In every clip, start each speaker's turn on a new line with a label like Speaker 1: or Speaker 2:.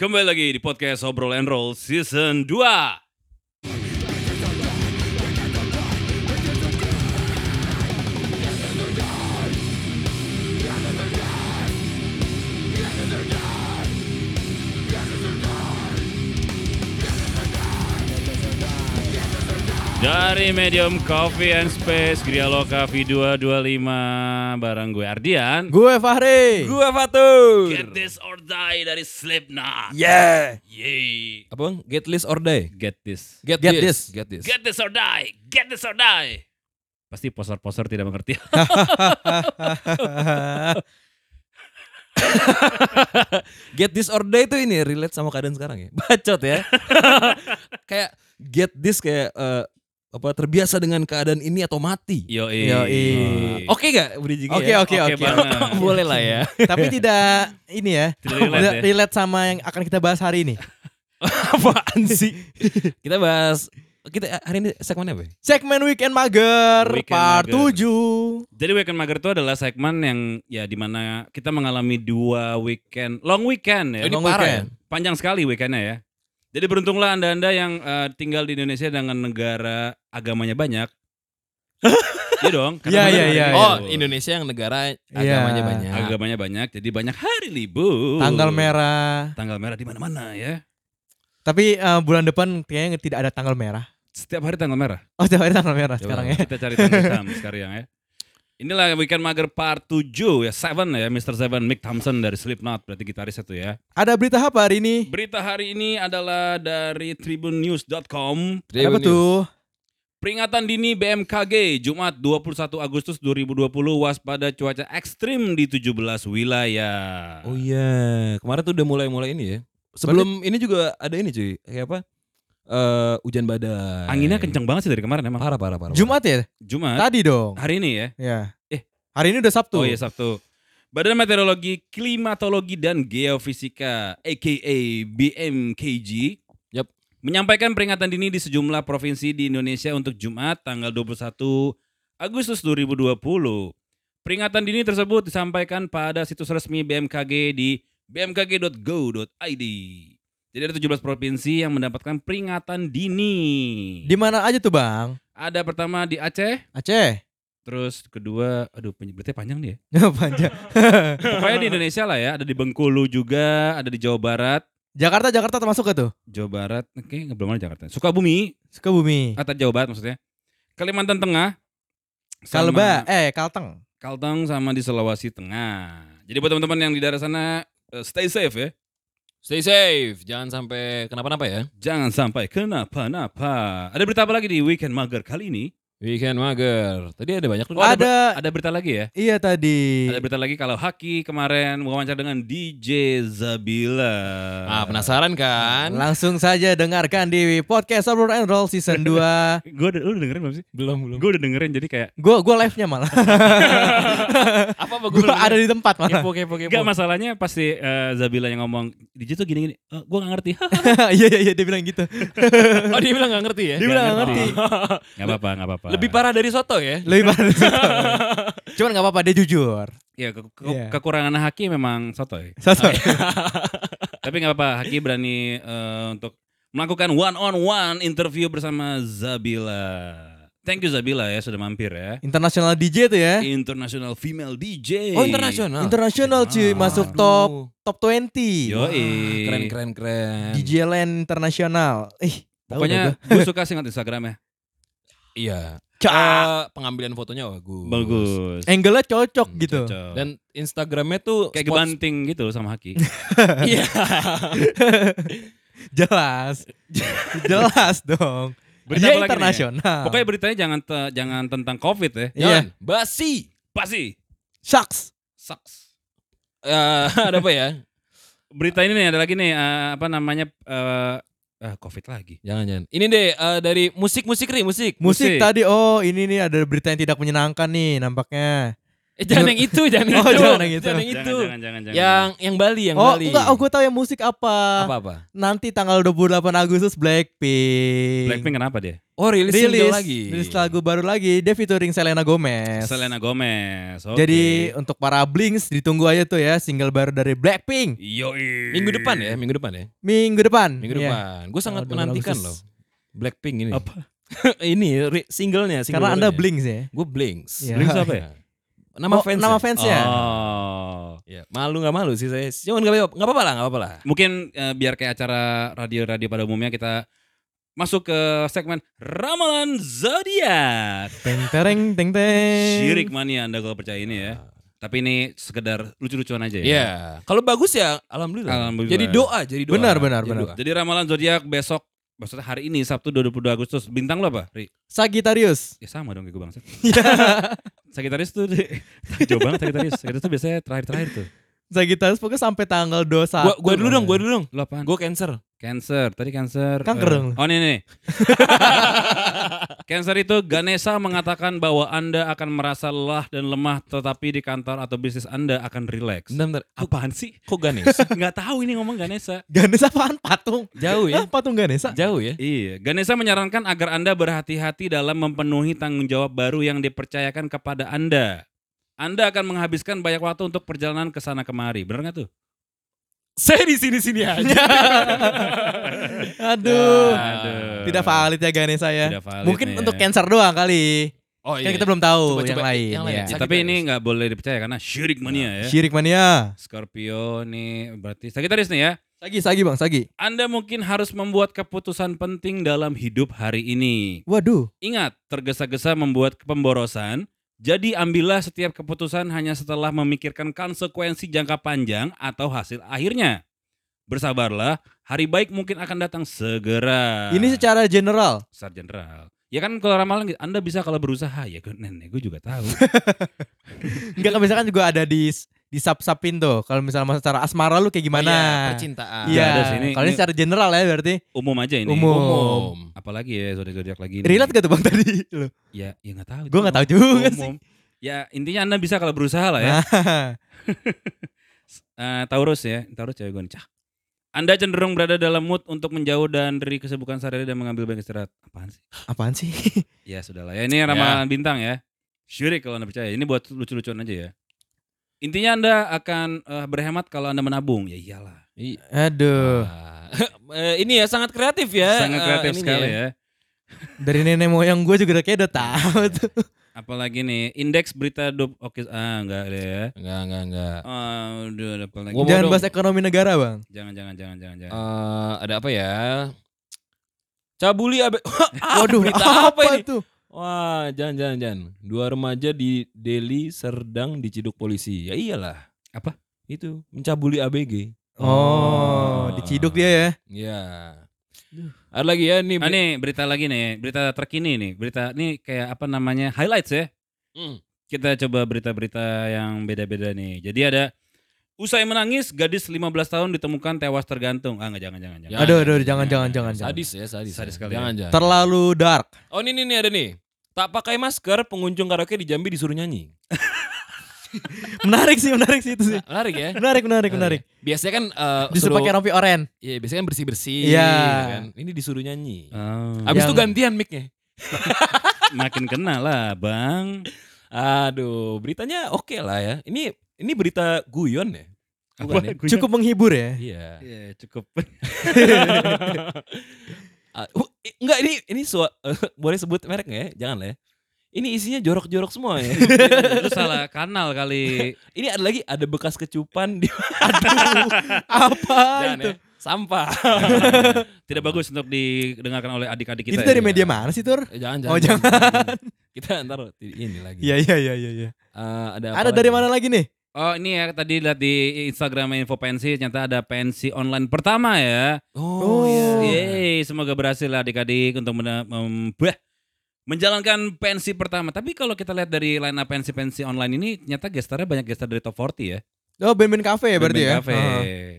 Speaker 1: Kembali lagi di podcast Obrol and Roll Season 2. Dari medium Coffee and Space Gria Loka V225 bareng gue Ardian.
Speaker 2: Gue Fahri.
Speaker 3: Gue Fatur.
Speaker 1: Get this or die dari Slipknot.
Speaker 3: Yeah.
Speaker 1: Yay.
Speaker 3: Apa bang? Get list or die?
Speaker 1: Get this.
Speaker 3: Get,
Speaker 2: Get
Speaker 3: this. Get this.
Speaker 1: Get this or die. Get this or die. Pasti poster-poster tidak mengerti.
Speaker 3: Get this or die itu ini relate sama keadaan sekarang ya. Bacot ya. kayak get this kayak eh, apa terbiasa dengan keadaan ini atau mati.
Speaker 1: Yo
Speaker 2: Yoi.
Speaker 1: Oke,
Speaker 3: Oke gak Budi Jigi
Speaker 2: Oke
Speaker 3: ya?
Speaker 2: oke
Speaker 1: Oke
Speaker 2: oke.
Speaker 1: banget.
Speaker 3: Boleh lah ya.
Speaker 2: Tapi tidak ini ya.
Speaker 1: Tidak relate ya.
Speaker 2: relate sama yang akan kita bahas hari ini.
Speaker 3: Apaan sih? kita bahas kita hari ini segmennya apa? ya?
Speaker 2: Segmen Weekend Mager
Speaker 1: Weekend
Speaker 2: part
Speaker 1: Mager.
Speaker 2: 7.
Speaker 1: Jadi Weekend Mager itu adalah segmen yang ya dimana kita mengalami dua weekend, long weekend ya.
Speaker 3: Ini
Speaker 2: Long
Speaker 3: parah
Speaker 2: weekend.
Speaker 3: ya.
Speaker 1: Panjang sekali weekendnya ya. Jadi beruntunglah anda-anda yang eh, tinggal di Indonesia dengan negara agamanya banyak. Iya dong. kata
Speaker 2: Iya,
Speaker 1: bener
Speaker 2: iya,
Speaker 1: hari
Speaker 2: iya,
Speaker 1: ini.
Speaker 2: iya.
Speaker 3: Oh Indonesia yang negara agamanya
Speaker 2: Iya.
Speaker 3: banyak.
Speaker 1: agamanya banyak jadi banyak hari libur
Speaker 2: Tanggal merah.
Speaker 1: tanggal merah di mana-mana ya
Speaker 2: Tapi eh, bulan depan kayaknya tidak ada tanggal merah.
Speaker 1: setiap hari tanggal merah
Speaker 2: Oh, tiap hari tanggal merah
Speaker 3: Coba.
Speaker 2: sekarang ya.
Speaker 1: kita cari tanggal hitam sekarang ya inilah weekend mager part 7 ya Seven ya Mr. Seven Mick Thompson dari Slipknot berarti gitaris itu ya
Speaker 2: Ada berita apa hari ini?
Speaker 1: berita hari ini adalah dari tribunnews.com
Speaker 3: Dia
Speaker 2: apa
Speaker 3: begini.
Speaker 2: tuh?
Speaker 1: Peringatan dini BMKG Jumat 21 Agustus 2020 waspada cuaca ekstrim di 17 wilayah.
Speaker 3: Oh iya, kemarin tuh udah mulai-mulai ini ya. Sebelum ini juga ada ini cuy, kayak apa? Eh hujan badai.
Speaker 1: Anginnya kenceng banget sih dari kemarin emang.
Speaker 3: Parah, parah, parah.
Speaker 2: Jumat ya?
Speaker 1: Jumat
Speaker 2: Tadi dong.
Speaker 1: hari ini ya.
Speaker 2: Ya.
Speaker 1: Eh.
Speaker 2: Hari ini udah
Speaker 1: Oh
Speaker 2: Sabtu.
Speaker 1: iya Sabtu. Badan Meteorologi, Klimatologi dan Geofisika aka BMKG
Speaker 3: Yap.
Speaker 1: menyampaikan peringatan dini di sejumlah provinsi di Indonesia untuk Jumat tanggal 21 Agustus 2020. Peringatan dini tersebut disampaikan pada situs resmi BMKG di bmkg.go.id. Jadi ada 17 provinsi yang mendapatkan peringatan dini.
Speaker 2: Di mana aja tuh, Bang?
Speaker 1: Ada pertama di Aceh,
Speaker 2: Aceh.
Speaker 1: terus kedua, aduh penyebutannya panjang nih ya.
Speaker 2: Panjang.
Speaker 1: Pokoknya di Indonesia lah ya, ada di Bengkulu juga, ada di Jawa Barat,
Speaker 2: Jakarta, Jakarta termasuk gak tuh?
Speaker 1: Jawa Barat, oke belum ada Jakarta, Sukabumi
Speaker 2: Sukabumi.
Speaker 1: atau Jawa Barat maksudnya, Kalimantan Tengah, sama
Speaker 2: Kalba, eh Kalteng.
Speaker 1: Kalteng sama di Sulawesi Tengah. Jadi buat teman-teman yang di daerah sana eh, stay safe ya,
Speaker 3: Stay safe, jangan sampai kenapa-napa ya.
Speaker 1: jangan sampai kenapa-napa. Ada berita apa lagi di Weekend Mager kali ini?
Speaker 3: Weekend mager. Tadi ada banyak
Speaker 1: Oh,
Speaker 3: tuh.
Speaker 1: ada
Speaker 2: ada,
Speaker 1: Ada berita lagi ya?
Speaker 2: iya tadi.
Speaker 1: Ada berita lagi kalau Haki kemarin wawancara dengan DJ Zabila.
Speaker 3: Ah, penasaran kan?
Speaker 2: Langsung saja dengarkan di podcast Upload and Roll season 2.
Speaker 1: Gue lu udah dengerin belum sih?
Speaker 3: Belum, belum.
Speaker 1: Gue udah dengerin jadi kayak
Speaker 2: Gue gua live-nya malah.
Speaker 3: Apa apa
Speaker 2: gue ada di tempat malah.
Speaker 3: kepo kepo kepo.
Speaker 1: Enggak masalahnya pasti eh, Zabila yang ngomong DJ tuh gini-gini. Eh, gua gak ngerti.
Speaker 2: Iya iya iya dia bilang gitu.
Speaker 3: Oh, dia bilang gak ngerti ya.
Speaker 2: Dia bilang
Speaker 1: nggak
Speaker 2: gak ngerti.
Speaker 1: gak apa-apa, gak apa-apa.
Speaker 3: Lebih parah dari soto ya.
Speaker 2: Lebih parah. dari soto. Cuman gak apa-apa dia jujur.
Speaker 1: ya ke- ke-
Speaker 2: Iya.
Speaker 1: kekurangan Haki memang sotoy.
Speaker 2: Soto.
Speaker 1: Tapi gak apa-apa, Haki berani eh, untuk melakukan one on one interview bersama Zabila. Thank you Zabila ya sudah mampir ya.
Speaker 2: International DJ tuh
Speaker 1: Iya.
Speaker 2: ya.
Speaker 1: International female DJ.
Speaker 3: Oh, internasional.
Speaker 2: International
Speaker 1: Ah.
Speaker 2: cuy masuk top top 20.
Speaker 1: Yoi.
Speaker 3: Keren keren keren.
Speaker 2: DJ Land Internasional. Ih, tahu
Speaker 1: Pokoknya
Speaker 2: dah gua.
Speaker 1: gue suka singkat Instagramnya.
Speaker 3: Iya.
Speaker 2: Cak.
Speaker 3: Eh, pengambilan fotonya bagus.
Speaker 1: Bagus.
Speaker 2: Ah, angle-nya cocok Eh, gitu.
Speaker 1: Hmm, Cocok.
Speaker 3: Dan Instagramnya tuh
Speaker 1: kayak
Speaker 3: spot-
Speaker 1: kebanting gitu sama Haki.
Speaker 3: Iya.
Speaker 2: Jelas. Jelas dong.
Speaker 1: Berita
Speaker 2: dia
Speaker 1: apa lagi nih?
Speaker 2: internasional.
Speaker 3: Ah.
Speaker 1: Pokoknya beritanya jangan te- jangan tentang COVID ya.
Speaker 2: Iya.
Speaker 3: Jangan basi.
Speaker 1: Pasti.
Speaker 2: Shucks.
Speaker 1: Sucks.
Speaker 3: Eh, ada apa ya?
Speaker 1: Berita ini nih ada lagi nih eh, apa namanya eh eh, COVID lagi.
Speaker 3: Jangan jangan. Ini deh eh, dari musik musik ri musik.
Speaker 2: Musik,
Speaker 1: Musik.
Speaker 2: tadi oh ini nih ada berita yang tidak menyenangkan nih nampaknya.
Speaker 4: Eh, jangan yang itu, jangan yang
Speaker 2: Oh,
Speaker 4: itu.
Speaker 2: jangan yang
Speaker 4: Jangan
Speaker 2: itu.
Speaker 4: yang
Speaker 1: Jangan,
Speaker 4: itu.
Speaker 1: jangan, jangan, jangan.
Speaker 4: Yang yang Bali, yang
Speaker 2: Oh
Speaker 4: Bali.
Speaker 2: enggak, oh gue tahu yang musik apa.
Speaker 3: Apa-apa?
Speaker 2: Nanti tanggal 28 Agustus Blackpink.
Speaker 1: Blackpink kenapa dia?
Speaker 3: Oh rilis,
Speaker 2: rilis,
Speaker 3: single lagi.
Speaker 2: rilis lagu baru lagi. Dia featuring Selena Gomez.
Speaker 1: Selena Gomez. Oke.
Speaker 2: Jadi untuk para Blinks ditunggu aja tuh ya single baru dari Blackpink
Speaker 1: Yoi.
Speaker 3: Minggu depan ya, minggu depan ya.
Speaker 2: minggu depan.
Speaker 3: Minggu
Speaker 2: Iya.
Speaker 3: depan. Gue sangat
Speaker 2: Tanggal 28
Speaker 3: menantikan loh.
Speaker 2: Agustus.
Speaker 3: Blackpink ini.
Speaker 1: Apa?
Speaker 3: ini re- singlenya,
Speaker 2: Karena Anda Blinks ya.
Speaker 3: Gue Blinks.
Speaker 2: Iya.
Speaker 1: Blinks apa ya?
Speaker 3: Nama
Speaker 2: Oh,
Speaker 3: fans.
Speaker 2: Nama fansnya.
Speaker 1: Oh.
Speaker 3: Ya, malu nggak malu sih saya. Cuman nggak apa- nggak apa-apa lah, nggak apa-apa lah.
Speaker 1: Mungkin eh, biar kayak acara radio-radio pada umumnya kita masuk ke segmen Ramalan Zodiak.
Speaker 2: Teng tereng teng teng.
Speaker 1: Syirik mania Anda kalau percaya ini ya.
Speaker 3: Ah.
Speaker 1: Tapi ini sekedar lucu-lucuan aja
Speaker 3: Ya,
Speaker 1: ya.
Speaker 3: kalau bagus ya alhamdulillah.
Speaker 1: Alhamdulillah.
Speaker 3: Jadi doa, jadi doa.
Speaker 2: Benar, benar,
Speaker 3: Jadi
Speaker 2: benar.
Speaker 3: doa.
Speaker 1: Jadi ramalan zodiak besok maksudnya hari ini Sabtu 22 Agustus bintang lo apa? Ri?
Speaker 2: Sagittarius.
Speaker 1: Ya sama dong kayak gue bangsa. Sagitarius tuh jauh banget Sagitarius. Sagitarius tuh biasanya terakhir-terakhir tuh.
Speaker 2: Sagittarius pokoknya sampai tanggal 21.
Speaker 3: Gua, gua dulu dong, gua dulu dong.
Speaker 1: Lo apaan?
Speaker 3: Gua cancer.
Speaker 1: Cancer. Tadi Cancer.
Speaker 2: Kanker
Speaker 1: eh,
Speaker 2: dong.
Speaker 1: oh ini nih. cancer itu Ganesha mengatakan bahwa Anda akan merasa lelah dan lemah tetapi di kantor atau bisnis Anda akan rileks.
Speaker 2: Nah.
Speaker 3: Bentar, bentar. Kok,
Speaker 1: Apaan sih?
Speaker 3: kok Ganesh?
Speaker 1: Nggak tahu ini ngomong Ganesha.
Speaker 2: Ganesha apaan patung?
Speaker 3: Jauh ya.
Speaker 2: Hah, patung Ganesha?
Speaker 3: Jauh ya.
Speaker 1: Iya, Ganesha menyarankan agar Anda berhati-hati dalam mempenuhi tanggung jawab baru yang dipercayakan kepada Anda. Anda akan menghabiskan banyak waktu untuk perjalanan ke sana kemari. Benar nggak tuh?
Speaker 3: Saya di sini-sini aja.
Speaker 2: Aduh.
Speaker 1: Aduh.
Speaker 2: Tidak valid ya Ganesha ya.
Speaker 1: Tidak valid
Speaker 2: Mungkin
Speaker 1: nih ya.
Speaker 2: untuk cancer doang kali.
Speaker 3: Oh
Speaker 2: Kan kita belum tahu
Speaker 3: Coba-coba
Speaker 2: yang lain.
Speaker 3: yang lain.
Speaker 2: ya.
Speaker 1: Ya, tapi ini nggak boleh dipercaya karena syirik mania ya.
Speaker 2: Nah, Syirik mania.
Speaker 1: Scorpio nih berarti Sagitarius nih ya.
Speaker 2: Sagi, Sagi Bang, Sagi.
Speaker 1: Anda mungkin harus membuat keputusan penting dalam hidup hari ini.
Speaker 2: Waduh.
Speaker 1: Ingat, tergesa-gesa membuat pemborosan. Jadi ambillah setiap keputusan hanya setelah memikirkan konsekuensi jangka panjang atau hasil akhirnya. Bersabarlah, hari baik mungkin akan datang segera.
Speaker 2: Ini secara general.
Speaker 1: Sar Jenderal. Ya kan kalau ramalan gitu, Anda bisa kalau berusaha. Ya gue- nenek gue juga tahu.
Speaker 2: Enggak kan biasanya kan juga ada di di sap-sapin tuh. Kalau misalnya mas- secara asmara lu kayak gimana?
Speaker 3: Iya, Percintaan.
Speaker 1: Iya, ada
Speaker 2: Iya.
Speaker 1: sih. Ini-
Speaker 2: Kalau ini
Speaker 1: ini-
Speaker 2: secara general ya berarti.
Speaker 1: Umum aja ini.
Speaker 2: Umum.
Speaker 1: Apalagi ya zodiak-zodiak lagi. ini.
Speaker 2: Relate gak tuh Bang tadi lu?
Speaker 1: Ya, ya nggak tahu.
Speaker 2: Gua nggak tahu juga sih. Nah,
Speaker 1: Umum. Ya intinya Anda bisa kalau berusaha lah ya. Eh, Taurus ya, Taurus cewek goncah. Anda cenderung berada dalam mood untuk menjauh dan dari kesibukan sehari-hari dan mengambil banyak istirahat. Apaan sih?
Speaker 2: Apaan sih?
Speaker 1: Ya sudahlah ya, ini ramalan bintang ya. Syirik kalau Anda percaya. Ini buat lucu-lucuan aja ya. Intinya Anda akan eh, berhemat kalau Anda menabung. Ya iyalah.
Speaker 2: Aduh.
Speaker 3: Eh, ini ya sangat kreatif ya.
Speaker 1: Sangat
Speaker 3: eh,
Speaker 1: kreatif
Speaker 3: ininya
Speaker 1: sekali ya.
Speaker 2: Dari nenek moyang gue juga udah kayak udah tahu tuh.
Speaker 1: Apalagi nih, indeks berita dop oke ah enggak ada ya.
Speaker 3: Enggak, enggak, enggak.
Speaker 1: Ah, udah apa lagi?
Speaker 3: Gua mau
Speaker 2: Jangan
Speaker 3: dong.
Speaker 2: bahas ekonomi negara, Bang.
Speaker 1: Jangan jangan jangan jangan jangan.
Speaker 3: Eh, ada apa ya? Cabuli abe.
Speaker 2: Waduh,
Speaker 3: berita apa ini?
Speaker 2: tuh?
Speaker 3: Wah, jangan jangan jangan. Dua remaja di Delhi Serdang diciduk polisi. Ya iyalah.
Speaker 1: Apa?
Speaker 3: Itu mencabuli ABG.
Speaker 2: Oh, diciduk dia ya.
Speaker 3: Ya. Ada lagi ya nih.
Speaker 1: Ah, nih berita lagi nih, berita terkini nih. Berita nih kayak apa namanya? Highlights ya.
Speaker 3: Hmm.
Speaker 1: kita coba berita-berita yang beda-beda nih. Jadi ada usai menangis gadis 15 tahun ditemukan tewas tergantung. Ah nggak jangan jangan jangan.
Speaker 3: Ya,
Speaker 2: Aduh, aduh, jangan, jangan, jangan, jangan.
Speaker 3: Sadis ya, sadis.
Speaker 1: Sadis
Speaker 3: ya.
Speaker 1: sekali
Speaker 3: Jangan jangan.
Speaker 2: Terlalu dark.
Speaker 3: Oh, ini nih, nih ada nih. Tak pakai masker, pengunjung karaoke di Jambi disuruh nyanyi.
Speaker 2: Menarik sih, menarik sih itu sih.
Speaker 3: Menarik ya.
Speaker 2: Menarik, menarik, menarik.
Speaker 3: Biasanya kan eh,
Speaker 2: Disuruh
Speaker 3: suruh-
Speaker 2: pakai rompi oren.
Speaker 3: Iya, biasanya kan bersih-bersih
Speaker 2: Iya.
Speaker 3: gitu kan. Ini disuruh nyanyi.
Speaker 1: Oh,
Speaker 3: Abis itu
Speaker 2: Yang-
Speaker 3: gantian mic-nya.
Speaker 1: makin kenal lah, Bang.
Speaker 3: Aduh, beritanya oke lah ya. Ini ini berita guyon ya. Bukan ya?
Speaker 1: Apa?
Speaker 2: Cukup menghibur ya.
Speaker 3: Iya.
Speaker 1: Iya, cukup.
Speaker 3: Ah, uh, i- enggak ini ini sua- boleh sebut merek nggak ya? Jangan lah ya. Ini isinya jorok-jorok semua ya.
Speaker 1: Lu salah kanal kali.
Speaker 3: ini ada lagi ada bekas kecupan di
Speaker 2: Apa
Speaker 3: Jangan
Speaker 2: itu?
Speaker 3: ya. sampah.
Speaker 1: Tidak bagus untuk didengarkan oleh adik-adik kita.
Speaker 2: itu dari
Speaker 1: ya.
Speaker 2: media mana sih, Tur?
Speaker 3: Eh, jangan,
Speaker 2: Oh,
Speaker 3: Kita ntar ini lagi.
Speaker 2: Iya, iya, iya, iya. iya.
Speaker 3: Eh, ada apa
Speaker 2: Ada dari
Speaker 3: lagi?
Speaker 2: mana lagi nih?
Speaker 1: Oh ini ya tadi lihat di Instagram Info Pensi ternyata ada pensi online pertama ya.
Speaker 3: Oh,
Speaker 2: Oh,
Speaker 3: iya.
Speaker 1: Yeay, semoga berhasil lah adik-adik untuk mena- mem- bah, menjalankan pensi pertama. Tapi kalau kita lihat dari line up pensi-pensi online ini, ternyata gesternya banyak gester dari top 40 ya.
Speaker 2: Oh, band-band cafe ya berarti
Speaker 1: Band-band
Speaker 2: ya.
Speaker 1: Cafe.
Speaker 2: Heeh.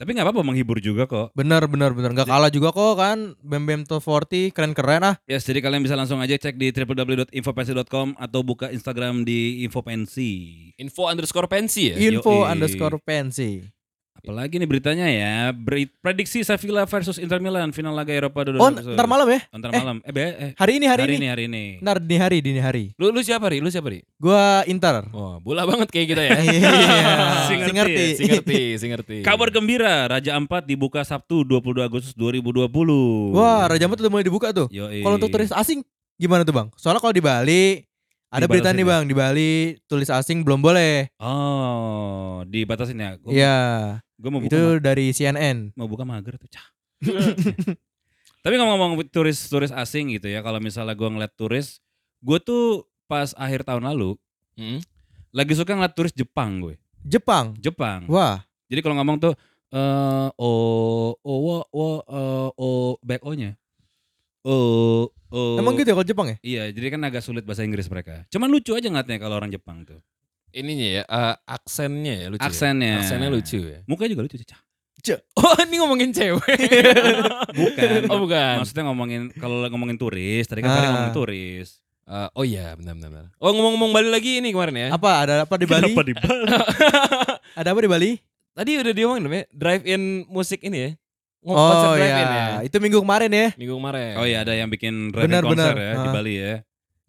Speaker 1: Tapi nggak apa-apa menghibur juga kok.
Speaker 2: Bener bener bener nggak kalah juga kok kan Bem Bem Top 40 keren keren ah.
Speaker 1: Yes, jadi kalian bisa langsung aja cek di www.infopensi.com atau buka Instagram di infopensi.
Speaker 3: Info underscore pensi ya.
Speaker 2: Info
Speaker 1: Yoi.
Speaker 2: underscore pensi.
Speaker 1: Apalagi nih beritanya ya, beri- prediksi Sevilla versus Inter Milan final laga Eropa dulu.
Speaker 2: Oh ntar malam ya?
Speaker 1: Ntar
Speaker 2: eh,
Speaker 1: malam. Eh, be- eh,
Speaker 2: Hari ini hari,
Speaker 1: hari,
Speaker 2: ini.
Speaker 1: ini, hari ini.
Speaker 2: Ntar di hari dini hari.
Speaker 3: Lu, lu siapa Ri? Lu siapa Ri?
Speaker 2: Gua Inter. Eh,
Speaker 3: Wah, bola banget kayak kita ya.
Speaker 1: Si
Speaker 2: Iya. Si
Speaker 1: ngerti,
Speaker 2: ngerti.
Speaker 3: Si ngerti, si ngerti.
Speaker 2: Iya.
Speaker 1: Kabar gembira, Raja Ampat dibuka Sabtu 22 Agustus 2020.
Speaker 2: Wah, Raja Ampat udah mulai dibuka tuh.
Speaker 1: Yoi.
Speaker 2: Kalau untuk turis asing gimana tuh, Bang? Soalnya kalau di Bali ada
Speaker 1: Dibatasin
Speaker 2: berita
Speaker 1: ya?
Speaker 2: nih, Bang, di Bali tulis asing belum boleh.
Speaker 1: Oh, dibatasin ya. Gua,
Speaker 2: Iya,
Speaker 1: gua mau buka
Speaker 2: itu dari CNN.
Speaker 1: ma- mau buka mager tuh, cah. Tapi ngomong-ngomong turis-turis asing gitu ya, kalau misalnya gua ngeliat turis, gue tuh pas akhir tahun lalu
Speaker 3: Hmm.
Speaker 1: lagi suka ngeliat turis Jepang gue.
Speaker 2: Jepang.
Speaker 1: Jepang.
Speaker 2: Wah,
Speaker 1: Jadi kalau ngomong tuh eh oh oh wo wo eh, oh back o-nya. Oh oh.
Speaker 2: emang gitu ya kalau Jepang ya?
Speaker 1: Iya, jadi kan agak sulit bahasa Inggris mereka. Cuman lucu aja ngeliatnya kalau orang Jepang tuh.
Speaker 3: Ininya ya, eh, aksennya ya lucu. ya?
Speaker 1: Aksennya.
Speaker 3: Aksennya lucu ya.
Speaker 1: Mukanya juga lucu, Cah.
Speaker 3: Oh, ini ngomongin cewek.
Speaker 1: Bukan.
Speaker 3: oh, bukan.
Speaker 1: Maksudnya ngomongin kalau ngomongin turis, tadi kan tadi
Speaker 2: Ah.
Speaker 1: ngomongin turis.
Speaker 3: Eh, oh iya, benar benar. benar. Oh, ngomong-ngomong Bali lagi ini kemarin ya.
Speaker 2: Eh? Apa ada apa di Bali?
Speaker 1: Kenapa di Bali?
Speaker 2: Ada apa di Bali?
Speaker 3: Tadi udah diomongin belum ya? Drive-in musik ini ya. Ngom- konser
Speaker 2: Oh
Speaker 3: drive-in
Speaker 2: iya, itu minggu kemarin ya.
Speaker 3: ya. Minggu kemarin.
Speaker 1: Oh iya ada yang bikin drive
Speaker 2: Benar,
Speaker 1: konser
Speaker 2: benar.
Speaker 1: ya di
Speaker 2: Ah.
Speaker 1: Bali ya.